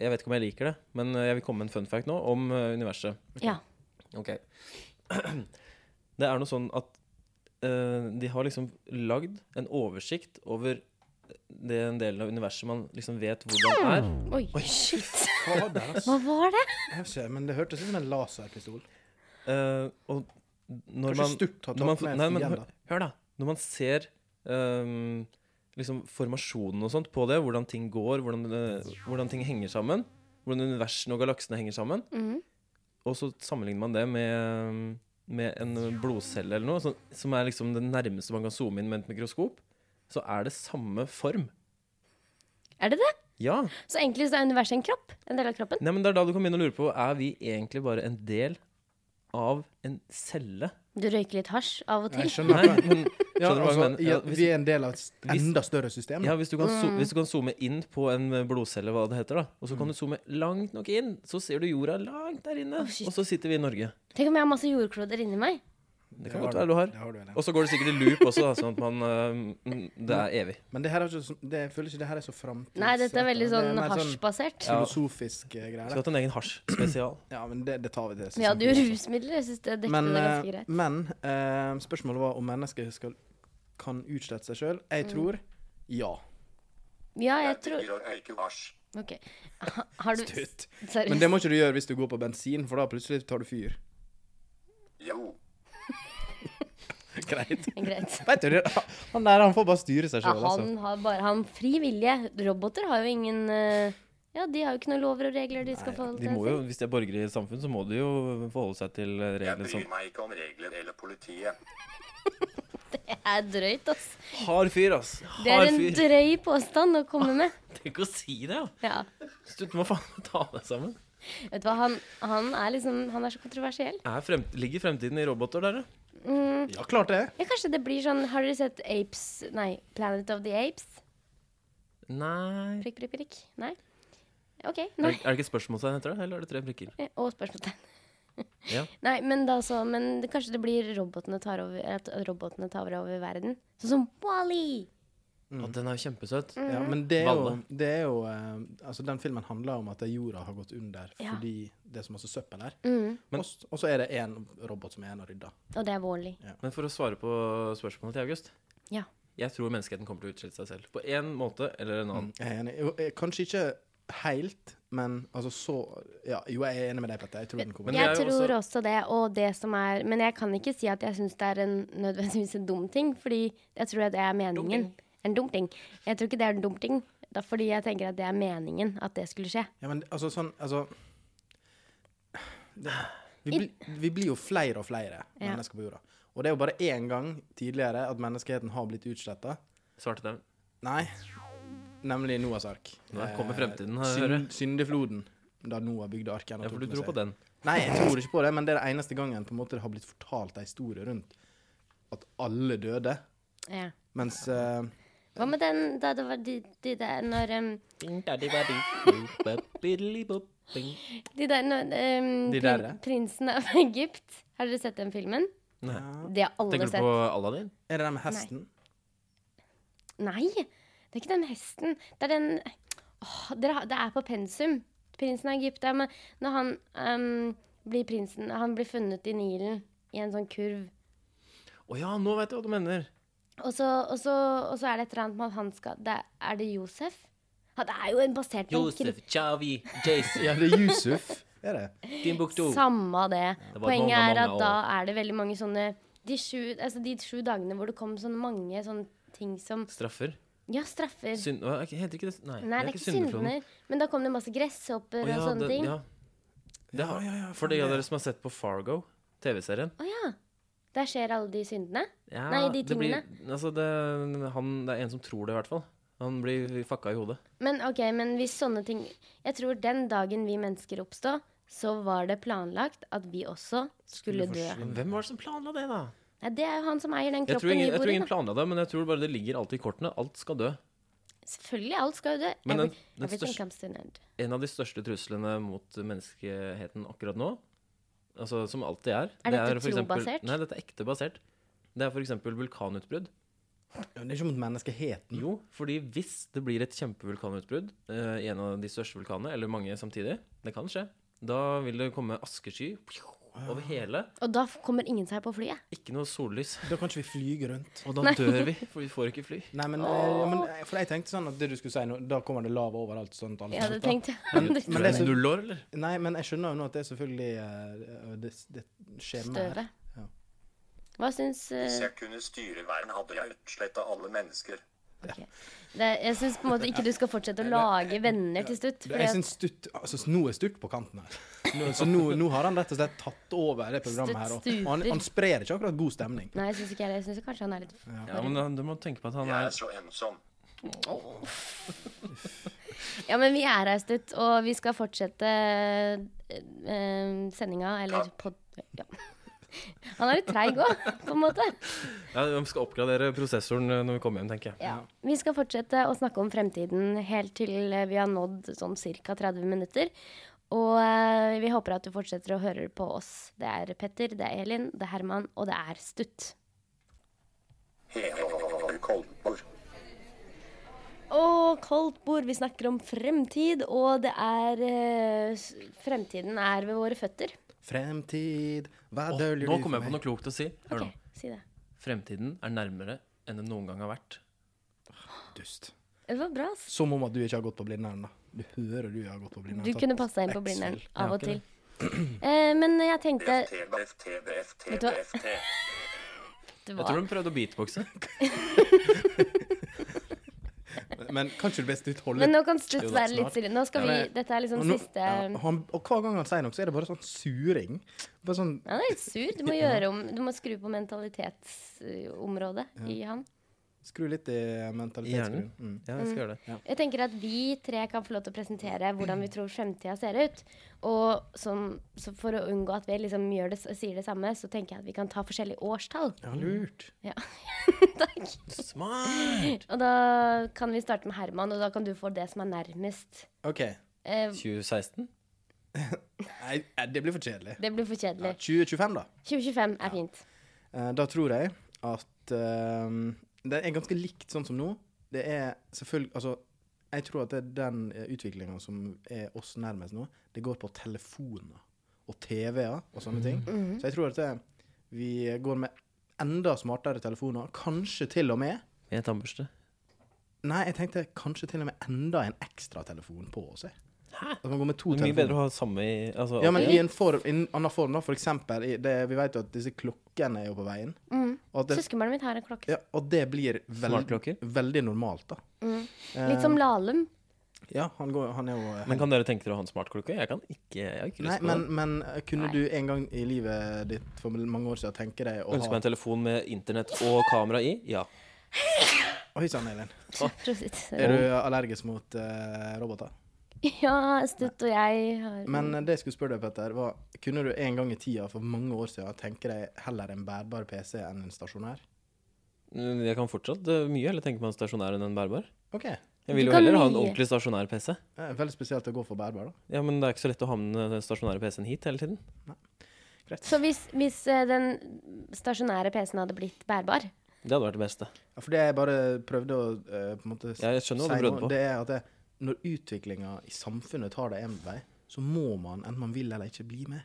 [SPEAKER 2] Jeg vet ikke om jeg liker det, men eh, jeg vil komme med en fun fact nå om eh, universet.
[SPEAKER 3] Ja.
[SPEAKER 2] Ok. Det er noe sånn at eh, de har liksom lagd en oversikt over eh, den delen av universet man liksom vet hvordan er.
[SPEAKER 3] Oi, shit.
[SPEAKER 4] Fader, altså.
[SPEAKER 3] Hva var det?
[SPEAKER 4] Jeg vet ikke, men det hørtes ut som en laserpistol.
[SPEAKER 2] Eh, og når
[SPEAKER 4] Kanskje
[SPEAKER 2] man,
[SPEAKER 4] Stutt har
[SPEAKER 2] når man
[SPEAKER 4] tatt med
[SPEAKER 2] nei, men,
[SPEAKER 4] fienden,
[SPEAKER 2] hør, hør da. Når man ser ehm, liksom formasjonen og sånt på det, hvordan ting går, hvordan, eh, hvordan ting henger sammen, hvordan universene og galaksene henger sammen, og så sammenligner man det med, med en blodcelle eller noe, så, som er liksom det nærmeste man kan zoome inn med et mikroskop, så er det samme form.
[SPEAKER 3] Er det det?
[SPEAKER 2] Ja.
[SPEAKER 3] Så egentlig så er universet en kropp? En del av kroppen?
[SPEAKER 2] Nei, men det er da du kan begynne å lure på er vi egentlig bare en del av en celle.
[SPEAKER 3] Du røyker litt hasj av og til?
[SPEAKER 4] Jeg skjønner
[SPEAKER 2] Nei,
[SPEAKER 4] hva jeg-
[SPEAKER 2] men,
[SPEAKER 4] ja,
[SPEAKER 2] skjønner du hva jeg
[SPEAKER 4] altså,
[SPEAKER 2] mener?
[SPEAKER 4] ja,
[SPEAKER 2] Ja, hvis-
[SPEAKER 4] Vi er en del av et s- enda større system.
[SPEAKER 2] Ja, hvis du, kan zo
[SPEAKER 4] Mm.
[SPEAKER 2] hvis du kan zoome inn på en eh, blodcelle, hva det heter, da, og så kan du zoome langt nok inn, så ser du jorda langt der inne,
[SPEAKER 3] shit.
[SPEAKER 2] og så sitter vi i Norge.
[SPEAKER 3] Tenk om jeg har masse jordkloder inni meg?
[SPEAKER 2] Det kan
[SPEAKER 4] har
[SPEAKER 2] godt
[SPEAKER 4] du.
[SPEAKER 2] være du har.
[SPEAKER 4] Det har du, Elin.
[SPEAKER 2] Og så går det sikkert i loop også, da, sånn at man eh, mm, Det er evig.
[SPEAKER 4] Men det her er ikke, så- det, jeg føler ikke det her er så framtids...
[SPEAKER 3] Nei, dette er veldig
[SPEAKER 4] Det
[SPEAKER 3] sånn
[SPEAKER 4] mer
[SPEAKER 3] hasjbasert.
[SPEAKER 4] filosofisk eh, greie.
[SPEAKER 2] Skulle
[SPEAKER 4] da.
[SPEAKER 2] hatt en egen hasj-spesial.
[SPEAKER 4] Ja, men det, det tar vi til.
[SPEAKER 3] Vi hadde jo
[SPEAKER 4] sesong to, altså.
[SPEAKER 3] rusmidler. Jeg syns det dekket
[SPEAKER 4] Men,
[SPEAKER 3] det
[SPEAKER 4] eh,
[SPEAKER 3] ganske greit.
[SPEAKER 4] men eh, spørsmålet var om mennesker skal,
[SPEAKER 3] Mm.
[SPEAKER 4] kan utslette seg sjøl. Jeg tror ja.
[SPEAKER 3] Ja, jeg
[SPEAKER 1] Jeg
[SPEAKER 3] tror
[SPEAKER 1] digger å røyke hasj.
[SPEAKER 3] Ok. Ha, har du
[SPEAKER 4] Stutt. Men
[SPEAKER 3] Seriøst?
[SPEAKER 4] det må ikke du gjøre hvis du går på bensin, for da plutselig tar du fyr.
[SPEAKER 1] Jo.
[SPEAKER 4] Greit.
[SPEAKER 3] Greit.
[SPEAKER 4] Vet du, det- han der han får bare styre seg
[SPEAKER 3] Ja,
[SPEAKER 4] sjøl, altså.
[SPEAKER 3] han har bare han fri vilje. Roboter har jo ingen eh, Ja, de har jo ikke noen lover og regler de skal forholde
[SPEAKER 2] De
[SPEAKER 3] seg
[SPEAKER 2] må
[SPEAKER 3] til.
[SPEAKER 2] jo, hvis de er borgere i et samfunn, så må de jo forholde seg til
[SPEAKER 1] Jeg
[SPEAKER 2] reglene som
[SPEAKER 1] bryr meg ikke om regler eller
[SPEAKER 3] Eh.
[SPEAKER 1] politiet.
[SPEAKER 3] Det er drøyt, ass.
[SPEAKER 2] Hard fyr, ass.
[SPEAKER 3] Det er
[SPEAKER 2] Hard
[SPEAKER 3] en
[SPEAKER 2] fyr.
[SPEAKER 3] drøy påstand å komme med.
[SPEAKER 2] Tenk å si det, ja.
[SPEAKER 3] Ja.
[SPEAKER 2] Slutt med å faen ta deg sammen.
[SPEAKER 3] Vet du hva, han, han er liksom Han er så kontroversiell.
[SPEAKER 2] Er frem, ligger fremtiden i roboter, dere?
[SPEAKER 4] Ja, klart det.
[SPEAKER 3] Ja, kanskje det blir sånn Har dere sett Apes Nei, Planet of the Apes?
[SPEAKER 2] Nei
[SPEAKER 3] Prikk, prikk, prikk. Nei? OK.
[SPEAKER 2] Er
[SPEAKER 3] Nei.
[SPEAKER 2] det, er det ikke spørsmålstegn etter det, eller er det tre prikker?
[SPEAKER 3] Og spørsmålstegn.
[SPEAKER 2] Ja.
[SPEAKER 3] Nei, men da så Men det, kanskje det blir robotene tar over, at robotene tar over verden? Sånn som Wally!
[SPEAKER 4] Mm.
[SPEAKER 2] Å, den er jo kjempesøt.
[SPEAKER 4] Ja, men det er jo,
[SPEAKER 2] Valle.
[SPEAKER 4] det er jo eh, Altså, den filmen handler om at jorda har gått under
[SPEAKER 3] Ja.
[SPEAKER 4] fordi det er så masse søppel her.
[SPEAKER 3] Mm.
[SPEAKER 4] Og s- og så er det én robot som er en og rydder.
[SPEAKER 3] Og det er Wally.
[SPEAKER 2] Men for å svare på spørsmålet til August
[SPEAKER 3] Ja.
[SPEAKER 2] Jeg tror menneskeheten kommer til å utslette seg selv. På én måte eller en annen.
[SPEAKER 4] Jeg er enig. Jo, eh, Kanskje ikke helt, men altså så Ja, jo, jeg er enig med deg, Petter. Jeg tror den kommer.
[SPEAKER 2] Men det
[SPEAKER 3] Jeg
[SPEAKER 2] er jo
[SPEAKER 3] tror også,
[SPEAKER 2] også-
[SPEAKER 3] det, og det som er Men jeg kan ikke si at jeg syns det er en nødvendigvis en dum ting, fordi jeg tror at det er meningen. En dum ting. Jeg tror ikke det er en dum ting, da, fordi jeg tenker at det er meningen at det skulle skje.
[SPEAKER 4] Ja, men altså sånn Altså det, vi, bli, vi blir jo flere og flere
[SPEAKER 3] Ja.
[SPEAKER 4] mennesker på jorda. Og det er jo bare én gang tidligere at menneskeheten har blitt utsletta.
[SPEAKER 3] Mm.
[SPEAKER 2] Svarte dem.
[SPEAKER 4] Nei. Nemlig Noahs ark.
[SPEAKER 2] Nå kommer fremtiden,
[SPEAKER 4] Eh,
[SPEAKER 2] hører jeg.
[SPEAKER 4] synd- Syndefloden. Da Noah bygde arken. og
[SPEAKER 2] Ja, for
[SPEAKER 4] tok
[SPEAKER 2] du
[SPEAKER 4] med
[SPEAKER 2] tror
[SPEAKER 4] seg-
[SPEAKER 2] på den.
[SPEAKER 4] Nei, jeg tror ikke på det, men det er den eneste gangen på en måte det har blitt fortalt en historie rundt at alle døde.
[SPEAKER 3] Ja.
[SPEAKER 4] Mens eh,
[SPEAKER 3] Hva med den da det var de, de der når um,
[SPEAKER 2] Nei.
[SPEAKER 3] De der når um,
[SPEAKER 4] De
[SPEAKER 3] prin-
[SPEAKER 4] derre?
[SPEAKER 3] Prinsen av Egypt. Har dere sett den filmen? Det har alle
[SPEAKER 2] Tenker du
[SPEAKER 3] sett.
[SPEAKER 2] på Aladdin?
[SPEAKER 4] Er det den med hesten?
[SPEAKER 3] Nei, det er ikke den hesten. Det er den Åh, dere har- Det er på pensum. Prinsen av Egypt. ja, Men når han ehm, blir prinsen Han blir funnet i Nilen i en sånn kurv.
[SPEAKER 2] Å ja, nå vet jeg hva du mener.
[SPEAKER 3] Og så, og så, og så er det et eller annet med at han skal det, Er det Josef? Ja, det er jo en basert på en krim-
[SPEAKER 2] Chavi, Jason,
[SPEAKER 4] Ja, det er Yusuf. Er det?
[SPEAKER 2] Timbuktu.
[SPEAKER 3] Samme det.
[SPEAKER 2] Det var
[SPEAKER 3] Poenget
[SPEAKER 2] mange,
[SPEAKER 3] er at
[SPEAKER 2] mange
[SPEAKER 3] da er det veldig mange sånne de sju, altså de sju dagene hvor det kom sånn mange sånne ting som
[SPEAKER 2] Straffer.
[SPEAKER 3] Ja, straffer.
[SPEAKER 2] Synd... Hva, Heter ikke det Nei,
[SPEAKER 3] Nei, det er ikke syndefloden. Men da kom det masse gresshopper
[SPEAKER 2] Å ja,
[SPEAKER 3] og sånne
[SPEAKER 2] det-
[SPEAKER 3] ting.
[SPEAKER 2] ja. Det har,
[SPEAKER 4] ja, ja,
[SPEAKER 2] for de av dere som har sett på Fargo, TV-serien
[SPEAKER 3] Å ja. Der skjer alle de syndene?
[SPEAKER 2] ja,
[SPEAKER 3] Nei, de
[SPEAKER 2] det blir- altså det, han, det er en som tror det, i hvert fall. Han blir fucka i hodet.
[SPEAKER 3] Men ok, men hvis sånne ting Jeg tror den dagen vi mennesker oppstod, så var det planlagt at vi også skulle dø.
[SPEAKER 2] Men hvem var det som planla det, da?
[SPEAKER 3] Nei, det er jo han som eier den
[SPEAKER 2] Jeg tror
[SPEAKER 3] kroppen vi
[SPEAKER 2] ingen, jeg
[SPEAKER 3] bor i.
[SPEAKER 2] tror
[SPEAKER 3] da.
[SPEAKER 2] ingen planla det, men jeg tror bare det ligger alltid i kortene. Alt skal dø.
[SPEAKER 3] Selvfølgelig, alt skal jo dø.
[SPEAKER 2] Men den-
[SPEAKER 3] Every-
[SPEAKER 2] den
[SPEAKER 3] Everything
[SPEAKER 2] største-
[SPEAKER 3] comes to an end.
[SPEAKER 2] En av de største truslene mot menneskeheten akkurat nå, altså som alltid er
[SPEAKER 3] Er
[SPEAKER 2] det
[SPEAKER 3] dette
[SPEAKER 2] for eksempel-
[SPEAKER 3] trobasert?
[SPEAKER 2] Nei, dette er ekte basert. Det er f.eks. vulkanutbrudd.
[SPEAKER 4] Men det er ikke mot menneskeheten.
[SPEAKER 2] Jo, fordi hvis det blir et kjempevulkanutbrudd eh, i en av de største vulkanene, eller mange samtidig, det kan skje, da vil det komme askesky over hele.
[SPEAKER 3] Og da f- kommer ingen seg på flyet.
[SPEAKER 2] Ikke noe sollys.
[SPEAKER 4] Da kan ikke vi flyge rundt.
[SPEAKER 2] Og da dør vi, for vi får ikke fly.
[SPEAKER 4] Nei, men, eh, ja, men eh, For jeg tenkte sånn at det du skulle si nå, da kommer det lava overalt. Sånn at alle
[SPEAKER 3] Jeg hadde
[SPEAKER 4] slutter.
[SPEAKER 3] tenkt
[SPEAKER 4] men det er så-
[SPEAKER 2] Null år, eller?
[SPEAKER 4] Nei, men jeg skjønner jo nå at det er selvfølgelig eh, det, det skjer med her.
[SPEAKER 3] støvet.
[SPEAKER 4] Ja.
[SPEAKER 3] Hva syns
[SPEAKER 1] Hvis
[SPEAKER 3] eh,
[SPEAKER 1] jeg kunne styre verden, hadde jeg utsletta alle mennesker.
[SPEAKER 3] det, Jeg syns på en måte ikke du skal fortsette å lage venner til slutt.
[SPEAKER 4] Jeg
[SPEAKER 3] fordi at-
[SPEAKER 4] synes Stutt, altså, nå er Stutt på kanten her. Nå, så nå, nå har han rett og slett tatt over det programmet her. Og, og han,
[SPEAKER 3] Stutt
[SPEAKER 4] han sprer ikke akkurat god stemning.
[SPEAKER 3] Nei, jeg syns ikke jeg det. Jeg syns kanskje han er litt
[SPEAKER 2] Ja, men da- du må tenke på at han
[SPEAKER 1] Jeg
[SPEAKER 2] er
[SPEAKER 1] er
[SPEAKER 4] altså.
[SPEAKER 1] så ensom.
[SPEAKER 3] Ja, men vi er her, Stutt, og vi skal fortsette eh, eh, sendinga, eller pod... Ja. Han er litt treig òg, på en måte.
[SPEAKER 2] Ja, Vi skal oppgradere prosessoren eh, når vi kommer hjem, tenker jeg.
[SPEAKER 3] Ja. Vi skal fortsette å snakke om fremtiden helt til eh, vi har nådd sånn ca. 30 minutter. Og eh, vi håper at du fortsetter å høre på oss. Det er Petter, det er Elin, det er Herman, og det er Stutt.
[SPEAKER 1] Hele koldbord.
[SPEAKER 3] Og koldt bord. Vi snakker om fremtid, og det er eh, s- Fremtiden er ved våre føtter.
[SPEAKER 4] Fremtid, hva
[SPEAKER 2] Åh,
[SPEAKER 4] døljer
[SPEAKER 2] nå
[SPEAKER 4] du
[SPEAKER 2] kommer jeg
[SPEAKER 4] for
[SPEAKER 2] på
[SPEAKER 4] meg?
[SPEAKER 2] noe klokt å si. Hør
[SPEAKER 3] Ok,
[SPEAKER 2] nå.
[SPEAKER 3] si det.
[SPEAKER 2] Fremtiden er nærmere enn den noen gang har vært.
[SPEAKER 4] Dust.
[SPEAKER 3] Det var bra. ass.
[SPEAKER 4] Som om at du ikke har gått på Blindern, da. Du hører du har gått på Blindern.
[SPEAKER 3] Du
[SPEAKER 4] Tatt
[SPEAKER 3] kunne passa inn på
[SPEAKER 4] X-Files.
[SPEAKER 3] Blindern
[SPEAKER 4] Jeg
[SPEAKER 3] av
[SPEAKER 4] har
[SPEAKER 3] og
[SPEAKER 4] ikke
[SPEAKER 3] til. Eh, men jeg tenkte
[SPEAKER 1] BFT, BFT, BFT,
[SPEAKER 3] Vet du hva?
[SPEAKER 1] BFT.
[SPEAKER 3] det
[SPEAKER 2] Jeg tror
[SPEAKER 3] var
[SPEAKER 2] de prøvde å beatboxe.
[SPEAKER 4] det. Men kan ikke du best utholde
[SPEAKER 3] Men nå kan Stutt
[SPEAKER 2] Jo, det er
[SPEAKER 3] være litt
[SPEAKER 2] snart.
[SPEAKER 3] stille. Nå skal
[SPEAKER 4] Ja,
[SPEAKER 3] vi
[SPEAKER 4] men-
[SPEAKER 3] Dette er liksom
[SPEAKER 4] Og nå-
[SPEAKER 3] siste
[SPEAKER 4] ja, og, han, og hver gang han sier noe, så er det bare sånn suring. Bare sånn
[SPEAKER 3] Han er litt sur. Du må gjøre om Du må skru på mentalitetsområdet i han.
[SPEAKER 4] Skru litt i mentalitetsgrunn.
[SPEAKER 2] Hjernen?
[SPEAKER 4] Mm.
[SPEAKER 2] Ja, jeg skal gjøre det.
[SPEAKER 3] Jeg tenker at vi tre kan få lov til å presentere hvordan vi tror fremtida ser ut. Og som, så for å unngå at vi liksom gjør det, sier det samme, så tenker jeg at vi kan ta forskjellige årstall.
[SPEAKER 4] Ja, lurt.
[SPEAKER 3] Ja. Takk.
[SPEAKER 2] Smart!
[SPEAKER 3] Og da kan vi starte med Herman, og da kan du få det som er nærmest.
[SPEAKER 4] OK.
[SPEAKER 3] Eh,
[SPEAKER 2] 2016?
[SPEAKER 4] Nei, eh, det blir for kjedelig.
[SPEAKER 3] det blir for
[SPEAKER 4] Ja,
[SPEAKER 3] kjedelig.
[SPEAKER 4] 2025, da.
[SPEAKER 3] 2025 er fint.
[SPEAKER 4] Eh, Da tror jeg at eh, det er ganske likt sånn som nå. Det er selvfølgelig Altså, jeg tror at det er den utviklinga som er oss nærmest nå, det går på telefoner og TV-er og sånne ting. Så jeg tror at det, vi går med enda smartere telefoner. Kanskje til og med
[SPEAKER 2] Med tannbørste.
[SPEAKER 4] Nei, jeg tenkte kanskje til og med enda en ekstratelefon på oss. jeg. At man går med to
[SPEAKER 2] Det er mye bedre
[SPEAKER 4] telefoner.
[SPEAKER 2] å ha samme i altså,
[SPEAKER 4] Ja, men
[SPEAKER 2] at-
[SPEAKER 4] i en, form, i en annen form, da. For eksempel, i det, vi vet jo at disse klokkene er jo på veien. Og at det
[SPEAKER 3] Søskenbarnet mitt har en klokke.
[SPEAKER 4] Ja, og det blir veld
[SPEAKER 2] Smartklokker?
[SPEAKER 4] veldig normalt, da.
[SPEAKER 3] Litt som Lahlum.
[SPEAKER 4] Ja, han, går, han er jo eh,
[SPEAKER 2] Men kan dere tenke dere å ha en smartklokke? Jeg kan ikke. Jeg har ikke lyst
[SPEAKER 4] Nei,
[SPEAKER 2] på
[SPEAKER 4] men,
[SPEAKER 2] det.
[SPEAKER 4] men eh, kunne
[SPEAKER 3] Nei.
[SPEAKER 4] du en gang i livet ditt for mange år siden tenke deg å
[SPEAKER 2] Ønsker
[SPEAKER 4] ha
[SPEAKER 2] meg en telefon med internett og kamera i? Ja.
[SPEAKER 4] Oi sann, Elin.
[SPEAKER 3] Prosit.
[SPEAKER 4] Er du allergisk mot eh, roboter?
[SPEAKER 3] Ja, Stutt og jeg har
[SPEAKER 4] Men eh, det jeg skulle spørre deg, Petter, var kunne du en gang i tida for mange år siden tenke deg heller en bærbar PC enn en stasjonær?
[SPEAKER 2] Mm, Jeg kan fortsatt eh, mye heller tenke meg en stasjonær enn en bærbar.
[SPEAKER 4] OK.
[SPEAKER 2] Jeg
[SPEAKER 3] Du
[SPEAKER 2] vil jo
[SPEAKER 3] kan
[SPEAKER 2] heller ha en
[SPEAKER 3] mye.
[SPEAKER 2] ordentlig stasjonær PC.
[SPEAKER 4] Eh, Veldig spesielt å gå for bærbar, da.
[SPEAKER 2] Ja, men det er ikke så lett å ha med den stasjonære PC-en hit hele tiden.
[SPEAKER 3] Så hvis, hvis eh, den stasjonære PC-en hadde blitt bærbar
[SPEAKER 2] Det hadde vært det beste.
[SPEAKER 4] Ja, For det jeg bare prøvde å eh, på en måte
[SPEAKER 2] Ja, jeg skjønner hva du
[SPEAKER 4] si
[SPEAKER 2] prøvde
[SPEAKER 4] nå,
[SPEAKER 2] på.
[SPEAKER 4] Det er at det, når utviklinga i samfunnet tar deg en vei, så må man, enten man vil eller ikke, bli med.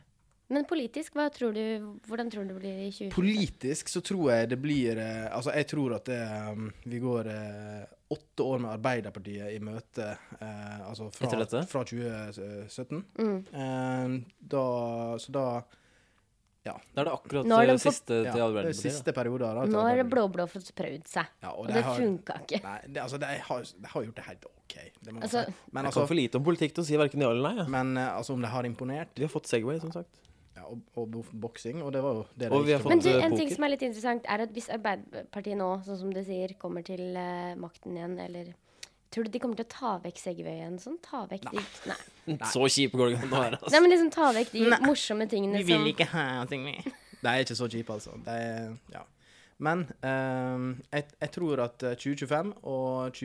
[SPEAKER 3] Men politisk, hva tror du, hvordan tror du det blir i 2020?
[SPEAKER 4] Politisk så tror jeg det blir eh, Altså, jeg tror at det, um, vi går eh, åtte år med Arbeiderpartiet i møte, eh, altså fra,
[SPEAKER 2] Etter dette?
[SPEAKER 4] fra 2017.
[SPEAKER 3] Mm.
[SPEAKER 4] Eh, da, så da
[SPEAKER 2] Da er det akkurat
[SPEAKER 3] Nå er
[SPEAKER 2] eh,
[SPEAKER 3] de for-
[SPEAKER 2] siste til
[SPEAKER 4] ja, det er
[SPEAKER 2] Albert.
[SPEAKER 4] Siste perioden. Da, til
[SPEAKER 3] Nå har
[SPEAKER 4] Arbeiderpartiet.
[SPEAKER 3] blå-blå fått prøvd seg,
[SPEAKER 4] Ja, og
[SPEAKER 3] og
[SPEAKER 4] det
[SPEAKER 3] det
[SPEAKER 4] har-
[SPEAKER 3] funka ikke.
[SPEAKER 4] Nei, det, altså, de har, de har gjort det helt OK. Det må man
[SPEAKER 3] Altså-
[SPEAKER 4] si.
[SPEAKER 2] Jeg
[SPEAKER 4] Men,
[SPEAKER 2] kan
[SPEAKER 4] altså,
[SPEAKER 2] for lite om politikk til å si verken ja eller nei. jeg.
[SPEAKER 4] men eh, altså, om de har imponert
[SPEAKER 2] Vi har fått Segway, som sagt.
[SPEAKER 4] Ja, og, og bo- boksing, og det var jo det
[SPEAKER 2] Og vi har
[SPEAKER 4] gikk til
[SPEAKER 2] fått-
[SPEAKER 3] Men du,
[SPEAKER 2] eh,
[SPEAKER 3] en ting
[SPEAKER 2] poker.
[SPEAKER 3] som er litt interessant, er at hvis Arbeiderpartiet nå, sånn som du sier, kommer til eh, makten igjen, eller Tror du de kommer til å ta vekk Segway igjen? Sånn, ta vekk de Nei.
[SPEAKER 2] Så kjipe går det ikke an å være. altså.
[SPEAKER 3] Nei, men liksom ta vekk de morsomme tingene som
[SPEAKER 4] ha ting med. De er ikke så kjipe, altså. De er, ja. Men ehm, jeg, jeg tror at eh, 2025 og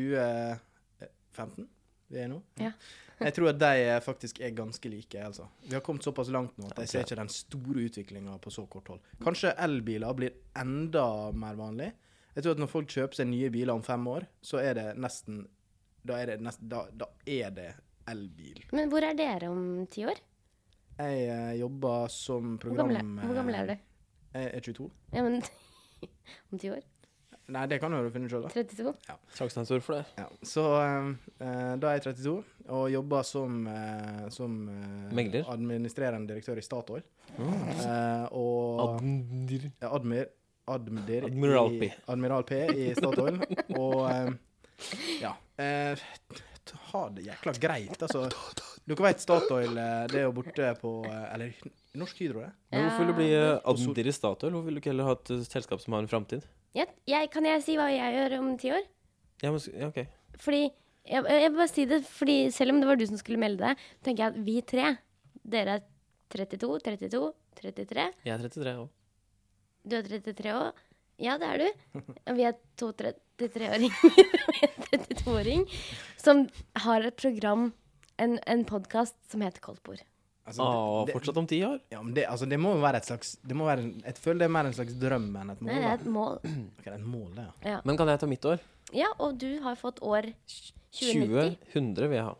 [SPEAKER 4] 2015 vi er nå.
[SPEAKER 3] Ja.
[SPEAKER 4] Jeg tror at de eh, faktisk er ganske like. altså. Vi har kommet såpass langt nå at jeg
[SPEAKER 2] Ok.
[SPEAKER 4] ser ikke den store utviklinga på så kort hold. Kanskje elbiler blir enda mer vanlig. Jeg tror at når folk kjøper seg nye biler om fem år, så er det nesten Da er det, nesten, da, da er det elbil.
[SPEAKER 3] Men hvor er dere om ti år?
[SPEAKER 4] Jeg eh, jobber som
[SPEAKER 3] Hvor
[SPEAKER 4] program... eh,
[SPEAKER 3] gammel, er- hvor gammel er du?
[SPEAKER 4] Jeg er 22.
[SPEAKER 3] Ja, men Om ti år?
[SPEAKER 4] Nei, det kan du finne selv da.
[SPEAKER 3] 32?
[SPEAKER 2] Sjansen er stor for det.
[SPEAKER 4] Ja. Så eh, da er jeg 32 og jobber som, eh, som eh,
[SPEAKER 2] Megler? Mm.
[SPEAKER 4] administrerende direktør i Statoil. Eh, og
[SPEAKER 2] Admir.
[SPEAKER 4] ja, admir, admir,
[SPEAKER 2] Admiral
[SPEAKER 4] i,
[SPEAKER 2] P.
[SPEAKER 4] Admiral P i Statoil. og eh, ja eh, t- Ha det jækla greit, altså. Dere vet Statoil, eh, det er jo borte på eh, Eller Norsk Hydro, det?
[SPEAKER 2] Men hvorfor vil du bli eh,
[SPEAKER 4] Og sol-
[SPEAKER 2] Admir i Statoil? Hvorfor vil du ikke heller ha et eh, selskap som har en framtid?
[SPEAKER 3] Ja, jeg, kan jeg si hva jeg gjør om ti år?
[SPEAKER 2] Ja, men, s- ja, ok.
[SPEAKER 3] Fordi jeg, jeg vil bare si det, fordi selv om det var du som skulle melde deg, tenker jeg at vi tre Dere er 32, 32, 33.
[SPEAKER 2] Jeg er 33 òg.
[SPEAKER 3] Du er 33 òg. Ja, det er du. Og vi er to 33-åringer og en 32-åring som har et program, en, en podkast, som heter Koldtbord.
[SPEAKER 4] Altså,
[SPEAKER 2] Ah,
[SPEAKER 4] det- det-
[SPEAKER 2] fortsatt om ti år?
[SPEAKER 4] Ja, men det, altså, det må jo være et slags det må være, en- Jeg føler det er mer en slags drøm enn et mål.
[SPEAKER 3] Nei, det er
[SPEAKER 4] da.
[SPEAKER 3] et mål.
[SPEAKER 4] Ok, det er et mål, det, ja.
[SPEAKER 2] Men kan jeg ta mitt år?
[SPEAKER 3] Ja, og du har fått år 2090.
[SPEAKER 2] 2000 vil jeg ha.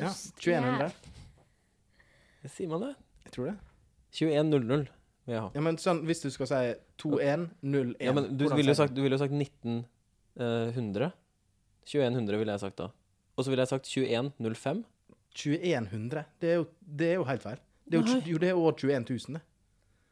[SPEAKER 4] ja 2100.
[SPEAKER 2] Sier man det?
[SPEAKER 4] Jeg tror det.
[SPEAKER 2] 2100 vil jeg ha.
[SPEAKER 4] Ja, men sånn, Hvis du skal si 2101
[SPEAKER 2] Ja, men du
[SPEAKER 4] hvordan
[SPEAKER 2] ville jo eh,
[SPEAKER 4] sier
[SPEAKER 2] sagt, du ville jo sagt 1900. 2100 ville jeg sagt da. Og så ville jeg sagt 21.05.
[SPEAKER 4] 2100. Det er jo, det er jo helt feil. Det er jo,
[SPEAKER 2] Nei.
[SPEAKER 4] jo, det er år 21 000, det.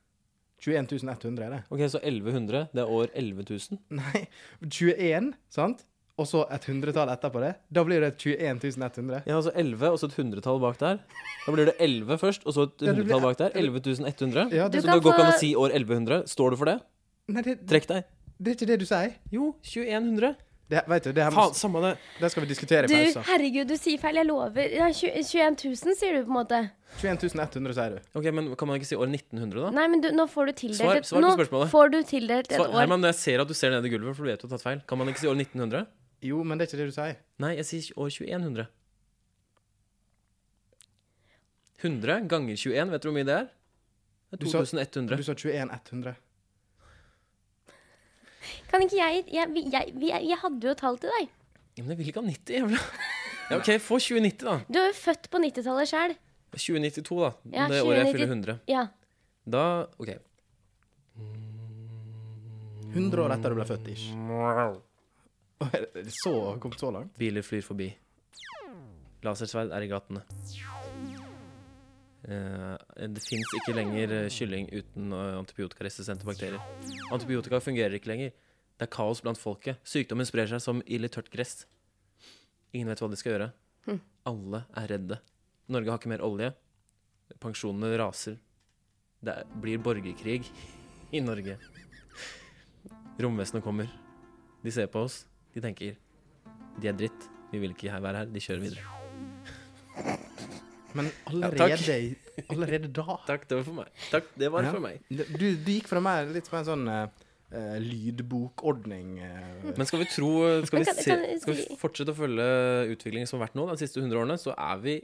[SPEAKER 4] 21 100 er det.
[SPEAKER 2] Ok, så 1100, det er år 11 000.
[SPEAKER 4] Nei, 21, sant? Og så et hundretall etterpå det. Da blir det 21 100.
[SPEAKER 2] Ja, altså 11, og så et hundretall bak der. Da blir det 11 først, og så et
[SPEAKER 4] det blir-
[SPEAKER 2] hundretall bak der. 11.100.
[SPEAKER 4] Ja,
[SPEAKER 2] Så det
[SPEAKER 4] det-
[SPEAKER 3] Du kan
[SPEAKER 2] går ikke an å
[SPEAKER 3] få-
[SPEAKER 2] si år 1100. Står du for det?
[SPEAKER 4] Nei, det, det
[SPEAKER 2] Trekk deg.
[SPEAKER 4] er ikke det du sier.
[SPEAKER 2] Jo, 2100.
[SPEAKER 4] Det, vet du, det, her,
[SPEAKER 2] Faen, samme det.
[SPEAKER 4] det skal vi diskutere i
[SPEAKER 3] Du,
[SPEAKER 4] pausen.
[SPEAKER 3] herregud, du sier feil. Jeg lover. Ja, 20 21 000, sier du på en måte.
[SPEAKER 4] 21 100, sier du.
[SPEAKER 2] Ok, men Kan man ikke si år 1900, da?
[SPEAKER 3] Nei, men du, nå får du
[SPEAKER 2] Svar-
[SPEAKER 3] tildelt et
[SPEAKER 2] svar på
[SPEAKER 3] Nå
[SPEAKER 2] spørsmålet.
[SPEAKER 3] får du tildelt et
[SPEAKER 2] Så,
[SPEAKER 3] år.
[SPEAKER 2] Herman, jeg ser at du ser ned i gulvet, for du vet du har tatt feil. Kan man ikke si år 1900?
[SPEAKER 4] Jo, men det er ikke det du sier.
[SPEAKER 2] Nei, jeg sier år 2100. 100 ganger 21, vet du hvor mye det er? Det
[SPEAKER 4] Du
[SPEAKER 2] er
[SPEAKER 4] sa-
[SPEAKER 2] 2100.
[SPEAKER 4] Du sa 21 100.
[SPEAKER 3] Kan ikke jeg jeg, vi- jeg, vi- jeg jeg hadde jo et tall til deg.
[SPEAKER 2] Ja, men jeg vil ikke ha 90, jævla. Ja, OK, få 2090, da.
[SPEAKER 3] Du er jo født på 90-tallet sjøl.
[SPEAKER 2] 2092, da.
[SPEAKER 3] Ja,
[SPEAKER 2] det året jeg
[SPEAKER 3] 2090.
[SPEAKER 2] fyller 100.
[SPEAKER 3] Ja.
[SPEAKER 2] Da OK.
[SPEAKER 4] 100 år etter du ble født, ish. Å, er det Så, kom så langt?
[SPEAKER 2] Biler flyr forbi. Lasersverd er i gatene. Eh, det fins ikke lenger eh, kylling uten eh, antibiotikaresistente bakterier. Antibiotika fungerer ikke lenger. Det er kaos blant folket. Sykdommen sprer seg som ild i tørt gress. Ingen vet hva de skal gjøre. Alle er redde. Norge har ikke mer olje. Pensjonene raser. Det er, blir borgerkrig i Norge. Romvesenet kommer. De ser på oss. De tenker de er dritt. Vi vil ikke her- være her. De kjører videre.
[SPEAKER 4] Men
[SPEAKER 2] Ja,
[SPEAKER 4] allerede, i- allerede da
[SPEAKER 2] Takk, det var for meg. Takk, det var
[SPEAKER 4] Ja.
[SPEAKER 2] for meg.
[SPEAKER 4] Du, du gikk fra mer litt som en sånn eh, eh, lydbokordning eh,
[SPEAKER 2] Men skal vi tro Skal vi,
[SPEAKER 3] Men kan-
[SPEAKER 2] se,
[SPEAKER 3] kan-
[SPEAKER 2] skal vi
[SPEAKER 3] skal vi-
[SPEAKER 2] fortsette å følge utviklingen som har vært nå de siste 100 årene, så er vi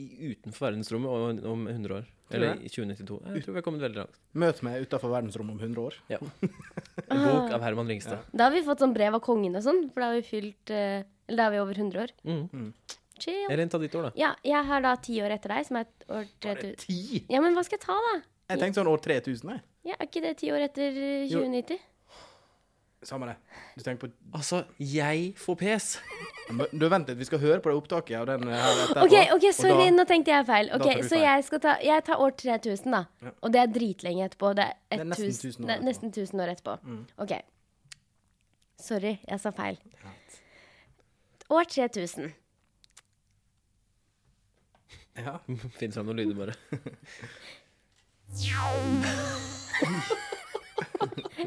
[SPEAKER 2] i, utenfor verdensrommet om- om 100 år. Eller i 2092. Jeg tror vi har kommet veldig langt.
[SPEAKER 4] Møt meg utafor verdensrommet om 100 år.
[SPEAKER 2] Ja. En
[SPEAKER 3] Ah.
[SPEAKER 2] bok av Herman Ringstad.
[SPEAKER 3] Da har vi fått sånn brev av kongen og sånn, for da har vi fylt eh, Eller da er vi over 100 år.
[SPEAKER 2] Mm.
[SPEAKER 3] Chill.
[SPEAKER 2] Eller en av ditt år, da.
[SPEAKER 3] Ja, jeg har da ti år etter deg, som er et år 3000.
[SPEAKER 4] Ti!
[SPEAKER 3] Ja, men hva skal jeg ta, da?
[SPEAKER 4] Jeg tenkte sånn år 3000, jeg.
[SPEAKER 3] Ja, Er ikke det ti år etter eh,
[SPEAKER 4] Jo.
[SPEAKER 3] 2090?
[SPEAKER 4] Samme det. Du tenker på
[SPEAKER 2] Altså, jeg får pes!
[SPEAKER 4] Men Du, vent litt, vi skal høre på det opptaket av den eh, her etterpå.
[SPEAKER 3] OK, ok,
[SPEAKER 4] Og
[SPEAKER 3] sorry,
[SPEAKER 4] da-
[SPEAKER 3] nå tenkte jeg feil. Ok,
[SPEAKER 4] tar du
[SPEAKER 3] Så
[SPEAKER 4] feil.
[SPEAKER 3] jeg skal ta Jeg tar år 3000, da.
[SPEAKER 4] Ja.
[SPEAKER 3] Og det er dritlenge etterpå. Det er,
[SPEAKER 4] Det er nesten
[SPEAKER 3] 1000
[SPEAKER 4] 1000 år
[SPEAKER 3] det er
[SPEAKER 4] etterpå. Mm.
[SPEAKER 3] nesten 1000 år etterpå. OK. Sorry, jeg sa feil. År 3000.
[SPEAKER 4] Ja.
[SPEAKER 2] Finn fram noen lyder, bare.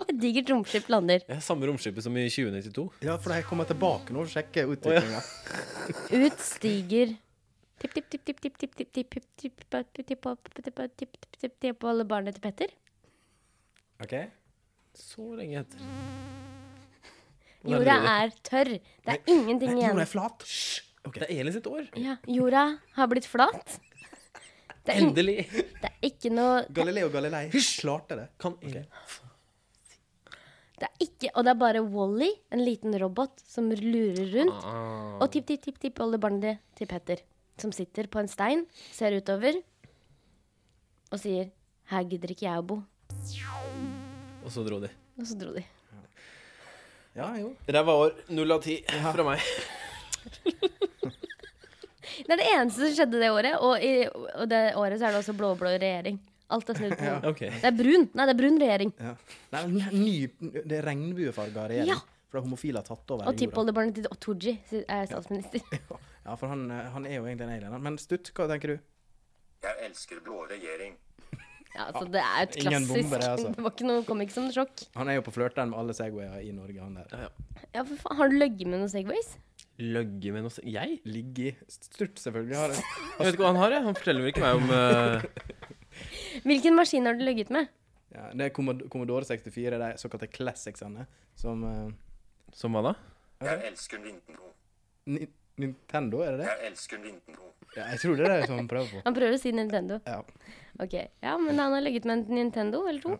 [SPEAKER 3] Et digert romskip lander.
[SPEAKER 2] Ja, samme romskipet som i 2092.
[SPEAKER 4] ja, for jeg kommer tilbake nå og sjekker utviklinga.
[SPEAKER 3] Ut stiger Tipp, tipp, tipp, tipp, tipp, tipp, tipp, tipp, tipp, tipp, tipp, tipp, tipp, tipp, tipp, tipp, tipp, tipp, tipp, alle barna til Petter.
[SPEAKER 4] Ok.
[SPEAKER 2] Så lenge etter.
[SPEAKER 3] Jorda er tørr. Det er ingenting
[SPEAKER 4] Nei,
[SPEAKER 3] igjen.
[SPEAKER 4] Jorda er flat. Hysj. Ok.
[SPEAKER 2] Det er Elin sitt år.
[SPEAKER 3] Ja, jorda har blitt flat. Det er, ing-
[SPEAKER 2] Endelig!
[SPEAKER 3] det er ikke noe
[SPEAKER 4] Galileo Galilei klarte det.
[SPEAKER 2] Kan Elin
[SPEAKER 3] Det er ikke, og det er bare Wally, en liten robot, som lurer rundt.
[SPEAKER 2] ah.
[SPEAKER 3] Og tipp, tipp, tipp, tipp, oldebarnet til Petter, som sitter på en stein, ser utover og sier 'Her gidder ikke jeg å bo'.
[SPEAKER 2] Og så dro de.
[SPEAKER 3] Og så dro de.
[SPEAKER 4] Ja, jo.
[SPEAKER 2] Ræva år. Null av ti fra meg.
[SPEAKER 3] Det er det eneste som skjedde det året, og, i, og det året så er det også blå-blå regjering. Alt er snudd på hodet.
[SPEAKER 2] Ok.
[SPEAKER 3] Det er brun. Nei, det er brun regjering.
[SPEAKER 4] Ja. Nei, men ny, det er regnbuefarga regjering.
[SPEAKER 3] Ja.
[SPEAKER 4] For det er homofile har tatt over
[SPEAKER 3] Og
[SPEAKER 4] jorda.
[SPEAKER 3] tippoldebarnet til Otoji er eh, statsminister.
[SPEAKER 4] Ja, for han, eh, han er jo egentlig en alien. han. Men Stutt, hva tenker du?
[SPEAKER 1] Jeg elsker blå regjering.
[SPEAKER 3] Ja, altså, det er et
[SPEAKER 4] Ingen
[SPEAKER 3] klassisk
[SPEAKER 4] bombe, det, altså.
[SPEAKER 3] Det var ikke noe, kom ikke som noe sjokk.
[SPEAKER 4] Han er jo på flørteren med alle Segwayer i Norge, han der.
[SPEAKER 3] Ja, for faen, Har du løyet med noen Segways?
[SPEAKER 2] Løgge med noe se- Jeg?
[SPEAKER 4] Ligge i Stutt, selvfølgelig. Har det.
[SPEAKER 2] Jeg vet ikke hva han har, jeg. Han forteller vel ikke meg om eh,
[SPEAKER 3] Hvilken maskin har du løyet med?
[SPEAKER 4] Ja, det er Commod- Commodore 64, de såkalte classicsene, som eh,
[SPEAKER 2] Som hva da?
[SPEAKER 1] Jeg elsker Nintendo.
[SPEAKER 4] Ni- Nintendo, er det det?
[SPEAKER 1] Jeg elsker Nintendo.
[SPEAKER 4] Ja, jeg tror det er det som han prøver på.
[SPEAKER 3] Han prøver å si Nintendo.
[SPEAKER 4] Ja.
[SPEAKER 3] Ok, Ja, men han har ligget med en Nintendo eller to.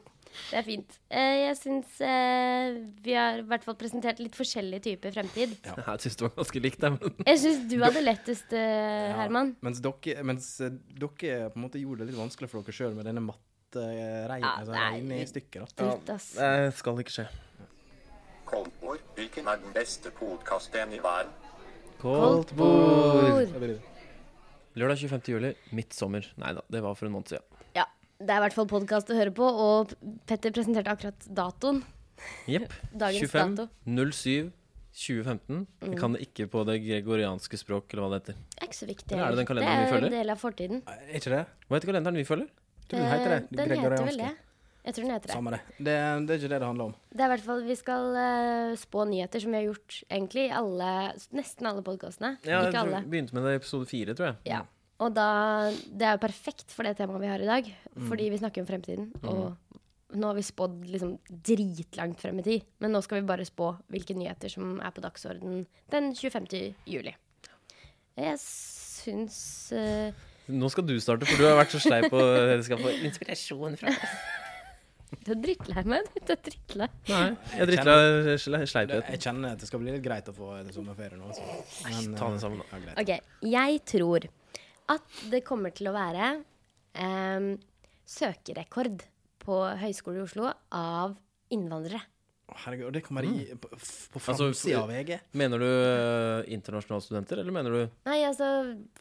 [SPEAKER 3] Det er fint. Eh, jeg syns eh, vi har i hvert fall presentert litt forskjellige typer fremtid.
[SPEAKER 2] Jeg syns det var ganske likt, jeg, men
[SPEAKER 3] Jeg syns du hadde lettest, eh, Herman.
[SPEAKER 4] Mens dere, mens eh, dere på en måte gjorde det litt vanskelig for dere sjøl med denne matteregnet.
[SPEAKER 3] Ja,
[SPEAKER 4] altså,
[SPEAKER 3] nei.
[SPEAKER 4] regnet i stykker. da.
[SPEAKER 3] Dritt, ass.
[SPEAKER 2] det skal ikke skje.
[SPEAKER 1] Kolmor, hvilken er den beste podkasten i verden?
[SPEAKER 2] Koldtbord.
[SPEAKER 4] Da blir det-
[SPEAKER 2] Lørdag 25. juli, midtsommer. Nei da, det var for en måned siden.
[SPEAKER 3] Ja, det er i hvert fall podkast å høre på, og Petter presenterte akkurat datoen.
[SPEAKER 2] Jepp.
[SPEAKER 3] Dagens
[SPEAKER 2] 25,
[SPEAKER 3] dato. Mm.
[SPEAKER 2] 07, 2015. Jeg kan det ikke på det gregorianske språk, eller hva det heter.
[SPEAKER 3] Det er ikke så viktig.
[SPEAKER 2] Eller er det
[SPEAKER 3] heller.
[SPEAKER 2] den kalenderen vi
[SPEAKER 3] det er
[SPEAKER 2] følger?
[SPEAKER 3] en del av fortiden.
[SPEAKER 4] Er ikke det?
[SPEAKER 2] Hva heter kalenderen vi følger?
[SPEAKER 4] Tror du det heter det?
[SPEAKER 3] Eh, Den heter vel
[SPEAKER 4] Gregorianske.
[SPEAKER 3] det. Jeg tror den heter det.
[SPEAKER 4] Samme det. det. Det er ikke det det handler om.
[SPEAKER 3] Det er i hvert fall Vi skal eh, spå nyheter, som vi har gjort egentlig i alle, nesten alle podkastene.
[SPEAKER 2] jeg
[SPEAKER 3] ikke
[SPEAKER 2] tror-
[SPEAKER 3] alle.
[SPEAKER 2] begynte med det i episode fire, tror jeg.
[SPEAKER 3] Ja. Mm. Og da Det er jo perfekt for det temaet vi har i dag, fordi vi snakker om fremtiden. Og nå har vi spådd liksom dritlangt frem i tid, men nå skal vi bare spå hvilke nyheter som er på dagsordenen den 25. juli. Jeg syns eh,
[SPEAKER 2] Nå skal du starte, for du har vært så sleip og jeg skal få
[SPEAKER 3] Du er drittlei meg. Du er drittlei.
[SPEAKER 2] Nei, jeg dritla sleipheten.
[SPEAKER 4] Jeg kjenner at det skal bli litt greit å få en sommerferie nå. altså. Men,
[SPEAKER 2] ta den
[SPEAKER 4] eh,
[SPEAKER 2] sammen, da.
[SPEAKER 4] Ja, greit.
[SPEAKER 3] Ok, jeg tror at det kommer til å være em, søkerekord på Høgskolen i Oslo av innvandrere.
[SPEAKER 4] Å, Herregud, og det kommer i på, på
[SPEAKER 2] Altså,
[SPEAKER 4] framsida av VG.
[SPEAKER 2] Mener du eh, internasjonale studenter, eller mener du
[SPEAKER 3] Nei, altså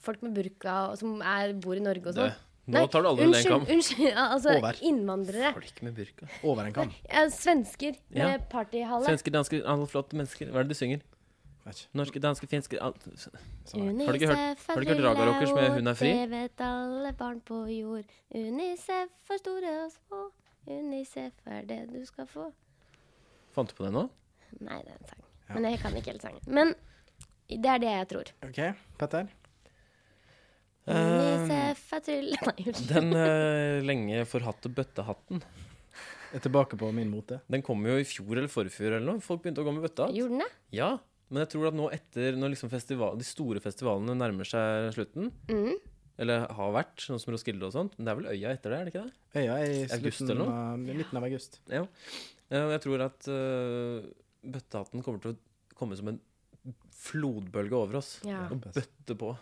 [SPEAKER 3] folk med burka og som er, bor i Norge og
[SPEAKER 2] det?
[SPEAKER 3] sånn.
[SPEAKER 2] Nå
[SPEAKER 3] Nei,
[SPEAKER 2] tar du alle under én
[SPEAKER 3] unnskyld,
[SPEAKER 2] kam.
[SPEAKER 3] Unnskyld, ja, altså
[SPEAKER 4] Over.
[SPEAKER 3] innvandrere.
[SPEAKER 2] Folk med burka.
[SPEAKER 4] Over en kam.
[SPEAKER 3] Ja, svensker med
[SPEAKER 2] Ja.
[SPEAKER 3] partyhale.
[SPEAKER 2] Svensker, dansker, alle flotte mennesker. Hva er det du synger?
[SPEAKER 4] Vet ikke.
[SPEAKER 2] Norske, danske, finske alt.
[SPEAKER 4] Sånn.
[SPEAKER 2] Har du ikke
[SPEAKER 3] UNICEF
[SPEAKER 2] hørt-
[SPEAKER 3] er
[SPEAKER 2] har du ikke hørt
[SPEAKER 3] lilla
[SPEAKER 2] Raga Rockers med
[SPEAKER 3] og
[SPEAKER 2] Hun er fri?
[SPEAKER 3] Det vet alle barn på jord. UNICEF for store og små. UNICEF er det du skal få.
[SPEAKER 2] Fant du på det nå?
[SPEAKER 3] Nei, det er en sang. Men jeg kan ikke hele sangen. Men det er det jeg tror.
[SPEAKER 4] OK, Petter.
[SPEAKER 2] Eh.
[SPEAKER 3] UNICEF er tryll... Nei, unnskyld.
[SPEAKER 2] Den eh, lenge forhatte bøttehatten.
[SPEAKER 4] Jeg er tilbake på min mote.
[SPEAKER 2] Den kom jo i fjor eller forfjor eller noe. Folk begynte å gå med bøttehatt.
[SPEAKER 3] Gjorde den det?
[SPEAKER 2] Ja, men jeg tror at nå etter når liksom festival, de store festivalene nærmer seg slutten, eller har vært, sånn som Roskilde og sånt, men det er vel øya etter det, er det ikke det?
[SPEAKER 4] Øya er i
[SPEAKER 2] August
[SPEAKER 4] slutten
[SPEAKER 2] eller noe?
[SPEAKER 4] av, i midten av august.
[SPEAKER 2] Ja. Eh, og Jeg tror at eh, bøttehatten kommer til å komme som en flodbølge over oss.
[SPEAKER 3] Ja.
[SPEAKER 2] Og bøtte på.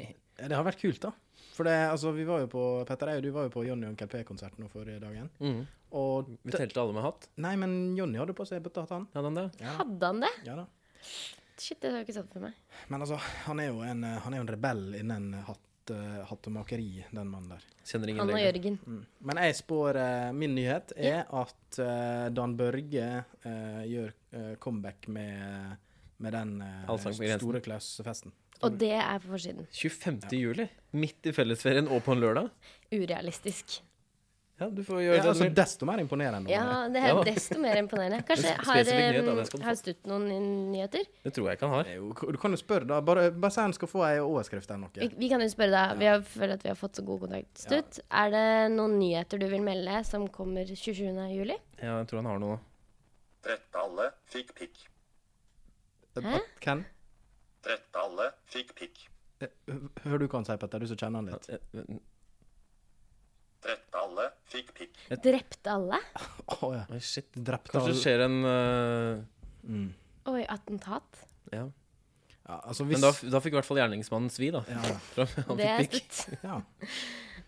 [SPEAKER 4] Ja, Det har vært kult, da. For det, altså, vi var jo på Petter, jeg og du var jo på Jonny og Onkel P-konserten nå forrige dagen. Og
[SPEAKER 2] Vi telte alle med hatt.
[SPEAKER 4] Nei, men Jonny hadde på seg bøttehatt, han.
[SPEAKER 2] Hadde han det?
[SPEAKER 3] Hadde han det?
[SPEAKER 4] Ja da.
[SPEAKER 3] Shit, det har jeg ikke sett for meg.
[SPEAKER 4] Men altså, han er jo en, eh, han er jo en rebell innen hatt, eh, hattemakeri, den mannen der.
[SPEAKER 2] Kjenner ingen
[SPEAKER 3] Han og
[SPEAKER 2] lenger.
[SPEAKER 3] Jørgen.
[SPEAKER 4] Mm. Men jeg spår eh, Min nyhet er at eh, Dan Børge eh, gjør eh, comeback med, med den eh,
[SPEAKER 2] Allsang på grensen.
[SPEAKER 4] store klausfesten.
[SPEAKER 3] Og det er på forsiden.
[SPEAKER 2] 25. juli, midt i fellesferien og på en lørdag.
[SPEAKER 3] Urealistisk.
[SPEAKER 2] Ja, du får gjøre
[SPEAKER 4] Ja, altså,
[SPEAKER 2] det. du vil.
[SPEAKER 4] desto mer imponerende.
[SPEAKER 3] Ja, det er
[SPEAKER 2] Ja da.
[SPEAKER 3] desto mer imponerende. Kanskje
[SPEAKER 2] Spesifikk
[SPEAKER 3] har,
[SPEAKER 2] nyhet, da,
[SPEAKER 3] em,
[SPEAKER 2] det skal du få.
[SPEAKER 3] har Stutt noen nyheter?
[SPEAKER 2] Det tror jeg ikke han har.
[SPEAKER 4] Det er jo- Du kan jo spørre, da. Bare, bare si han skal få ei overskrift eller
[SPEAKER 3] Vi,
[SPEAKER 4] noe.
[SPEAKER 3] vi kan jo spørre deg. Vi har, føler at vi har fått så god kontakt. Stutt, er det noen nyheter du vil melde som kommer 27. juli?
[SPEAKER 2] Ja, jeg tror han har noe.
[SPEAKER 1] Trette alle fikk pikk.
[SPEAKER 4] Eh, At- Ken,
[SPEAKER 1] Trette alle fikk pikk.
[SPEAKER 4] eh, hør du hva han sier, Petter, du som kjenner han litt.
[SPEAKER 2] Eh, men-
[SPEAKER 1] Trette alle fikk pikk.
[SPEAKER 3] Drepte alle?
[SPEAKER 4] Å ja.
[SPEAKER 2] Oi, shit.
[SPEAKER 4] Drepte
[SPEAKER 2] Kanskje
[SPEAKER 4] alle
[SPEAKER 2] det skjer en eh,
[SPEAKER 3] Oi, attentat?
[SPEAKER 2] Ja.
[SPEAKER 4] ja, altså, hvis,
[SPEAKER 2] Men da, da fikk i hvert fall gjerningsmannen svi, da.
[SPEAKER 4] Ja, ja.
[SPEAKER 2] Fra- Han
[SPEAKER 3] Det er
[SPEAKER 2] fikk pikk.
[SPEAKER 3] Stutt.
[SPEAKER 4] ja.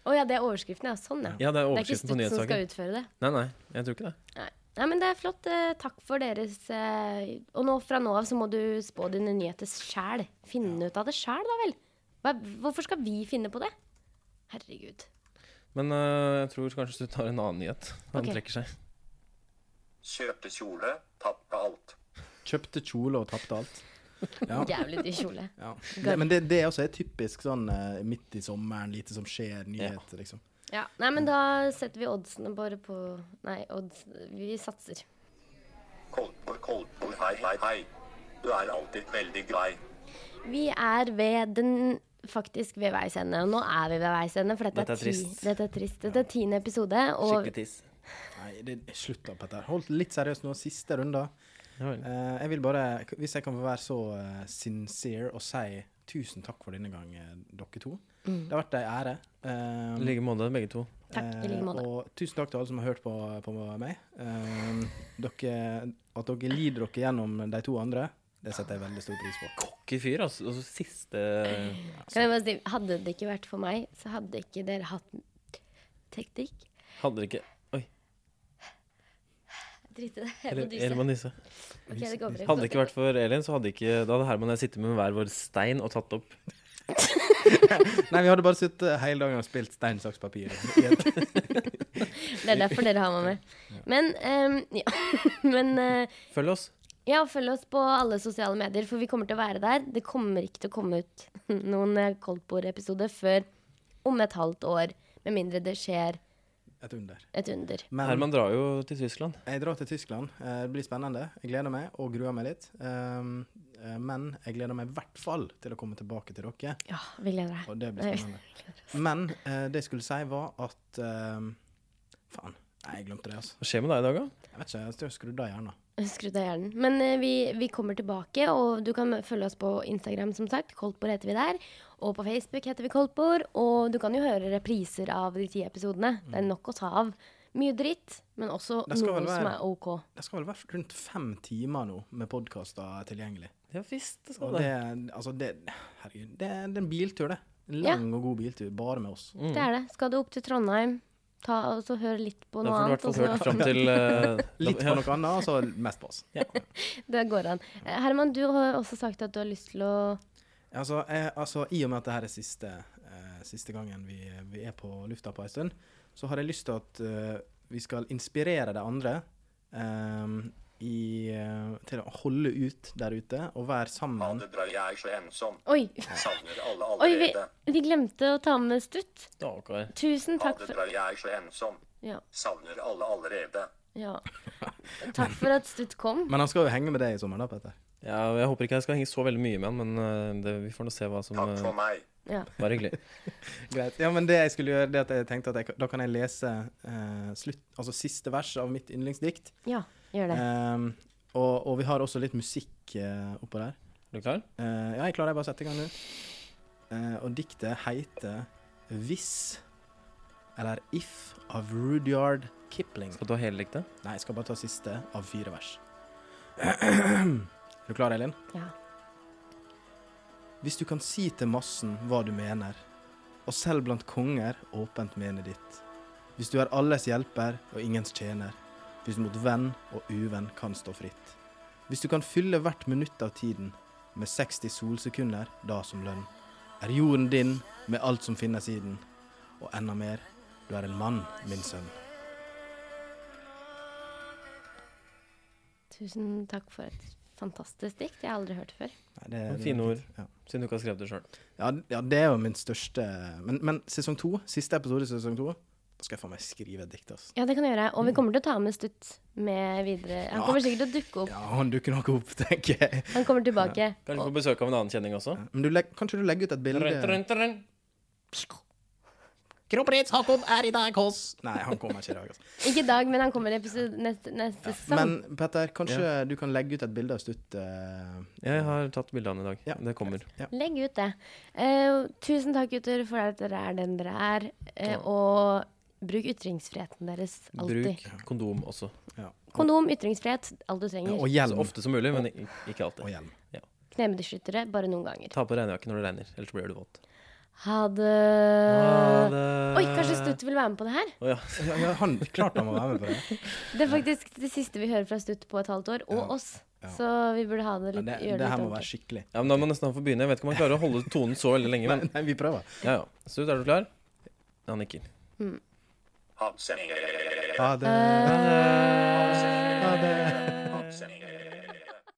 [SPEAKER 3] Å ja, det er overskriften, ja. Sånn, ja.
[SPEAKER 2] Ja,
[SPEAKER 3] Det
[SPEAKER 2] det er
[SPEAKER 3] er ikke
[SPEAKER 2] overskriften på
[SPEAKER 3] Stutt som skal
[SPEAKER 2] nyhetssaken.
[SPEAKER 3] utføre det.
[SPEAKER 2] Nei, nei, jeg tror ikke det.
[SPEAKER 3] Nei. Nei, men det er flott. eh, Takk for deres eh, Og nå fra nå av så må du spå dine nyheter sjæl. Finne ut av det sjæl, da vel. Hva, hvorfor skal vi finne på det? Herregud.
[SPEAKER 2] Men eh, jeg tror kanskje Stutt har en annen nyhet. Han
[SPEAKER 3] Ok.
[SPEAKER 2] trekker seg.
[SPEAKER 1] Kjøpte kjole, tapte alt.
[SPEAKER 4] Kjøpte kjole og tapte alt. Ja.
[SPEAKER 3] Jævlig dyr kjole.
[SPEAKER 4] Ja. Det, men det, det også er typisk sånn eh, midt i sommeren, lite som skjer, nyheter, liksom.
[SPEAKER 3] Ja. Nei, men da setter vi oddsene bare på Nei, odds Vi satser.
[SPEAKER 1] Koldtbord, koldtbord, hei, hei, hei. Du er alltid veldig grei.
[SPEAKER 3] Vi er ved den faktisk ved veis ende. Og nå er vi ved veis ende, for dette,
[SPEAKER 2] Dette
[SPEAKER 3] er,
[SPEAKER 2] er
[SPEAKER 3] ti,
[SPEAKER 2] trist.
[SPEAKER 3] dette er trist. Dette er tiende episode, og
[SPEAKER 2] Skikkelig tiss.
[SPEAKER 4] Nei, det, slutt da, Petter. Hold litt seriøst nå, siste runde.
[SPEAKER 2] Ja vel.
[SPEAKER 4] Eh, jeg vil bare, hvis jeg kan få være så eh, sincere og si tusen takk for denne gang, eh, dere to. Det har vært ei ære. Eh,
[SPEAKER 2] I like måte, begge to.
[SPEAKER 3] Mm. takk i like måte.
[SPEAKER 4] Eh, og tusen takk til alle som har hørt på, på meg. Eh, dere, at dere lider dere gjennom de to andre, det setter jeg veldig stor pris på.
[SPEAKER 2] Cocky fyr, altså. Og så siste
[SPEAKER 3] Kan jeg bare si, hadde det ikke vært for meg, så hadde ikke dere hatt teknikk.
[SPEAKER 2] Hadde dere ikke Oi.
[SPEAKER 3] Drit i det. Jeg må
[SPEAKER 2] Eller,
[SPEAKER 3] dyse.
[SPEAKER 2] eller må nisse.
[SPEAKER 3] Ok, det går bra.
[SPEAKER 2] Hadde det ikke vært for Elin, så hadde ikke Da hadde Herman og jeg sittet med hver vår stein og tatt opp.
[SPEAKER 4] Nei, vi hadde bare sittet eh, hele dagen og spilt stein, saks, papir. i et-
[SPEAKER 3] Det er derfor dere har meg med. Men, ehm, ja. Men eh,
[SPEAKER 2] Følg oss.
[SPEAKER 3] ja, følg oss på alle sosiale medier, for vi kommer til å være der. Det kommer ikke til å komme ut noen eh, Koldtbord-episode før om et halvt år. Med mindre det skjer
[SPEAKER 4] Et under.
[SPEAKER 3] et under.
[SPEAKER 4] Men
[SPEAKER 2] Herman drar jo til Tyskland.
[SPEAKER 4] jeg drar til Tyskland. Eh, Det blir spennende. Jeg gleder meg og gruer meg litt. Um, eh, Men jeg gleder meg i hvert fall til å komme tilbake til dere.
[SPEAKER 3] Ja, vi gleder deg.
[SPEAKER 4] Og det
[SPEAKER 3] Nei.
[SPEAKER 4] blir spennende. Men eh, det jeg skulle si, var at eh, Faen. Nei, jeg glemte det, altså.
[SPEAKER 2] Hva skjer med deg i dag, da?
[SPEAKER 4] Jeg vet ikke, jeg tror jeg skrudde av hjernen.
[SPEAKER 3] Skrudd av hjernen. Men eh, vi, vi kommer tilbake, og du kan følge oss på Instagram, som sagt. Koldtbord heter vi der. Og på Facebook heter vi Koldtbord. Og du kan jo høre repriser av de ti episodene.
[SPEAKER 2] Mm.
[SPEAKER 3] Det er nok å ta av. Mye dritt, men også
[SPEAKER 4] Det skal
[SPEAKER 3] noe
[SPEAKER 4] vel være-
[SPEAKER 3] som er OK.
[SPEAKER 4] Det skal vel være rundt fem timer nå med podkaster tilgjengelig.
[SPEAKER 2] Ja visst, det
[SPEAKER 4] Og
[SPEAKER 2] skal
[SPEAKER 4] det,
[SPEAKER 2] det.
[SPEAKER 4] altså det, herregud, det, det er en biltur, det. En
[SPEAKER 3] Ja. Mm.
[SPEAKER 4] lang og god biltur, bare med oss.
[SPEAKER 2] Mm.
[SPEAKER 3] Det er det. Skal du opp til Trondheim, ta, og så hør litt på
[SPEAKER 2] Da
[SPEAKER 3] noe annet.
[SPEAKER 2] får du i hvert fall
[SPEAKER 3] og
[SPEAKER 2] hørt
[SPEAKER 3] så-
[SPEAKER 2] fram til eh,
[SPEAKER 4] altså- Litt på
[SPEAKER 2] ja.
[SPEAKER 4] noe annet, og så mest på oss.
[SPEAKER 3] Det går an. Eh, Herman, du har også sagt at du har lyst til å
[SPEAKER 4] Altså, jeg, altså, I og med at dette er siste, eh, siste gangen vi, vi er på lufta på en stund, så har jeg lyst til at eh, vi skal inspirere de andre ehm, i, eh, til å holde ut der ute og være
[SPEAKER 1] Ha
[SPEAKER 4] sammen.
[SPEAKER 1] det bra, jeg er så ensom.
[SPEAKER 3] Oi!
[SPEAKER 1] Savner alle
[SPEAKER 3] Oi, vi,
[SPEAKER 1] allerede.
[SPEAKER 3] vi glemte å ta med Stutt.
[SPEAKER 2] Ja, ok.
[SPEAKER 3] Tusen
[SPEAKER 1] Ha
[SPEAKER 3] takk
[SPEAKER 1] det
[SPEAKER 3] for
[SPEAKER 1] bra, jeg er så ensom.
[SPEAKER 3] Ja.
[SPEAKER 1] Savner alle allerede.
[SPEAKER 3] ja. Takk for at Stutt kom.
[SPEAKER 4] Men han skal jo henge med deg i sommer, da, Petter.
[SPEAKER 2] Ja, jeg håper ikke jeg skal henge så veldig mye med han, men eh, det, vi får nå se hva som
[SPEAKER 1] Takk for
[SPEAKER 2] eh,
[SPEAKER 1] meg.
[SPEAKER 3] Ja.
[SPEAKER 2] Bare hyggelig.
[SPEAKER 4] Greit. Ja, men det jeg skulle gjøre, det at jeg tenkte at jeg, da kan jeg lese eh, slutt, altså siste vers av mitt yndlingsdikt.
[SPEAKER 3] ja, gjør det.
[SPEAKER 4] Ehm, og, og vi har også litt musikk eh, oppå der.
[SPEAKER 2] Er du klar?
[SPEAKER 4] Eh, ja, jeg klarer jeg bare å sette i gang nå. Eh, og diktet heter Hvis eller If av Rudyard Kipling.
[SPEAKER 2] Skal du ha hele diktet?
[SPEAKER 4] Nei, jeg skal bare ta siste av fire vers. er du klar, Elin?
[SPEAKER 3] Ja.
[SPEAKER 4] Hvis du kan si til massen hva du mener, og selv blant konger åpent mene ditt. Hvis du er alles hjelper og ingens tjener, hvis mot venn og uvenn kan stå fritt. Hvis du kan fylle hvert minutt av tiden med 60 solsekunder da som lønn, er jorden din med alt som finnes i den, og enda mer, du er en mann, min sønn. Eh.
[SPEAKER 3] Tusen takk for et fantastisk dikt. Jeg har aldri hørt det før.
[SPEAKER 4] Nei, det,
[SPEAKER 2] Det var fine ord.
[SPEAKER 4] Ja.
[SPEAKER 2] Siden du ikke har skrevet det sjøl.
[SPEAKER 4] Ja, d- ja, det er jo min største Men, men sesong to, siste episode i sesong to, da skal jeg faen meg skrive et dikt, altså.
[SPEAKER 3] Ja, det kan jeg gjøre. Og vi kommer til å ta med Stutt med videre. Han
[SPEAKER 4] Ja.
[SPEAKER 3] kommer sikkert til å dukke opp.
[SPEAKER 4] Ja, han dukker nok opp, tenker jeg.
[SPEAKER 3] Han kommer tilbake.
[SPEAKER 2] Kanskje få besøk av en annen kjenning også.
[SPEAKER 4] Men du legg, kanskje du legger ut et bilde
[SPEAKER 2] Trønn, trønn, trønn.
[SPEAKER 4] Kronprins Haakon er i dag hos Nei, han kommer ikke i dag, altså.
[SPEAKER 3] Ikke i dag, men han kommer i episode neste, neste sesong.
[SPEAKER 4] Men Petter, kanskje du kan legge ut et bilde av Stutt? eh,
[SPEAKER 2] Jeg har tatt bilde av han i dag.
[SPEAKER 4] Ja.
[SPEAKER 2] Det kommer.
[SPEAKER 3] Legg ut det. Eh, tusen takk, gutter, for at dere er den dere er. Eh, og bruk ytringsfriheten deres alltid.
[SPEAKER 2] Bruk kondom også.
[SPEAKER 3] Kondom, ytringsfrihet, alt du trenger.
[SPEAKER 4] og
[SPEAKER 2] Så
[SPEAKER 4] hjelm.
[SPEAKER 2] ofte som mulig, men ik- ikke alltid.
[SPEAKER 4] Og hjelm.
[SPEAKER 3] Knebeskyttere bare noen ganger.
[SPEAKER 2] Ta på regnjakke når det regner, ellers blir du våt.
[SPEAKER 3] Ha det.
[SPEAKER 2] Eh,
[SPEAKER 3] Oi, kanskje Stutt vil være med på det her?
[SPEAKER 2] Å ja.
[SPEAKER 4] Ja, ja, han, klart han må være med på det.
[SPEAKER 3] Det er faktisk det siste vi hører fra Stutt på et halvt år, og oss. Så vi burde ha det
[SPEAKER 4] Ja,
[SPEAKER 3] litt,
[SPEAKER 4] det,
[SPEAKER 3] gjøre det
[SPEAKER 4] det
[SPEAKER 3] litt
[SPEAKER 4] her må være
[SPEAKER 3] ordentlig.
[SPEAKER 4] skikkelig.
[SPEAKER 2] ja, men Da må nesten han få begynne. Jeg vet ikke om han klarer å holde tonen så veldig lenge. Men
[SPEAKER 4] Nei, vi prøver.
[SPEAKER 2] ja, ja. Stutt, er du klar? Han nikker.
[SPEAKER 1] Ha det.
[SPEAKER 4] Ha det.
[SPEAKER 1] Ha det.
[SPEAKER 4] Ha det.
[SPEAKER 1] Ha det.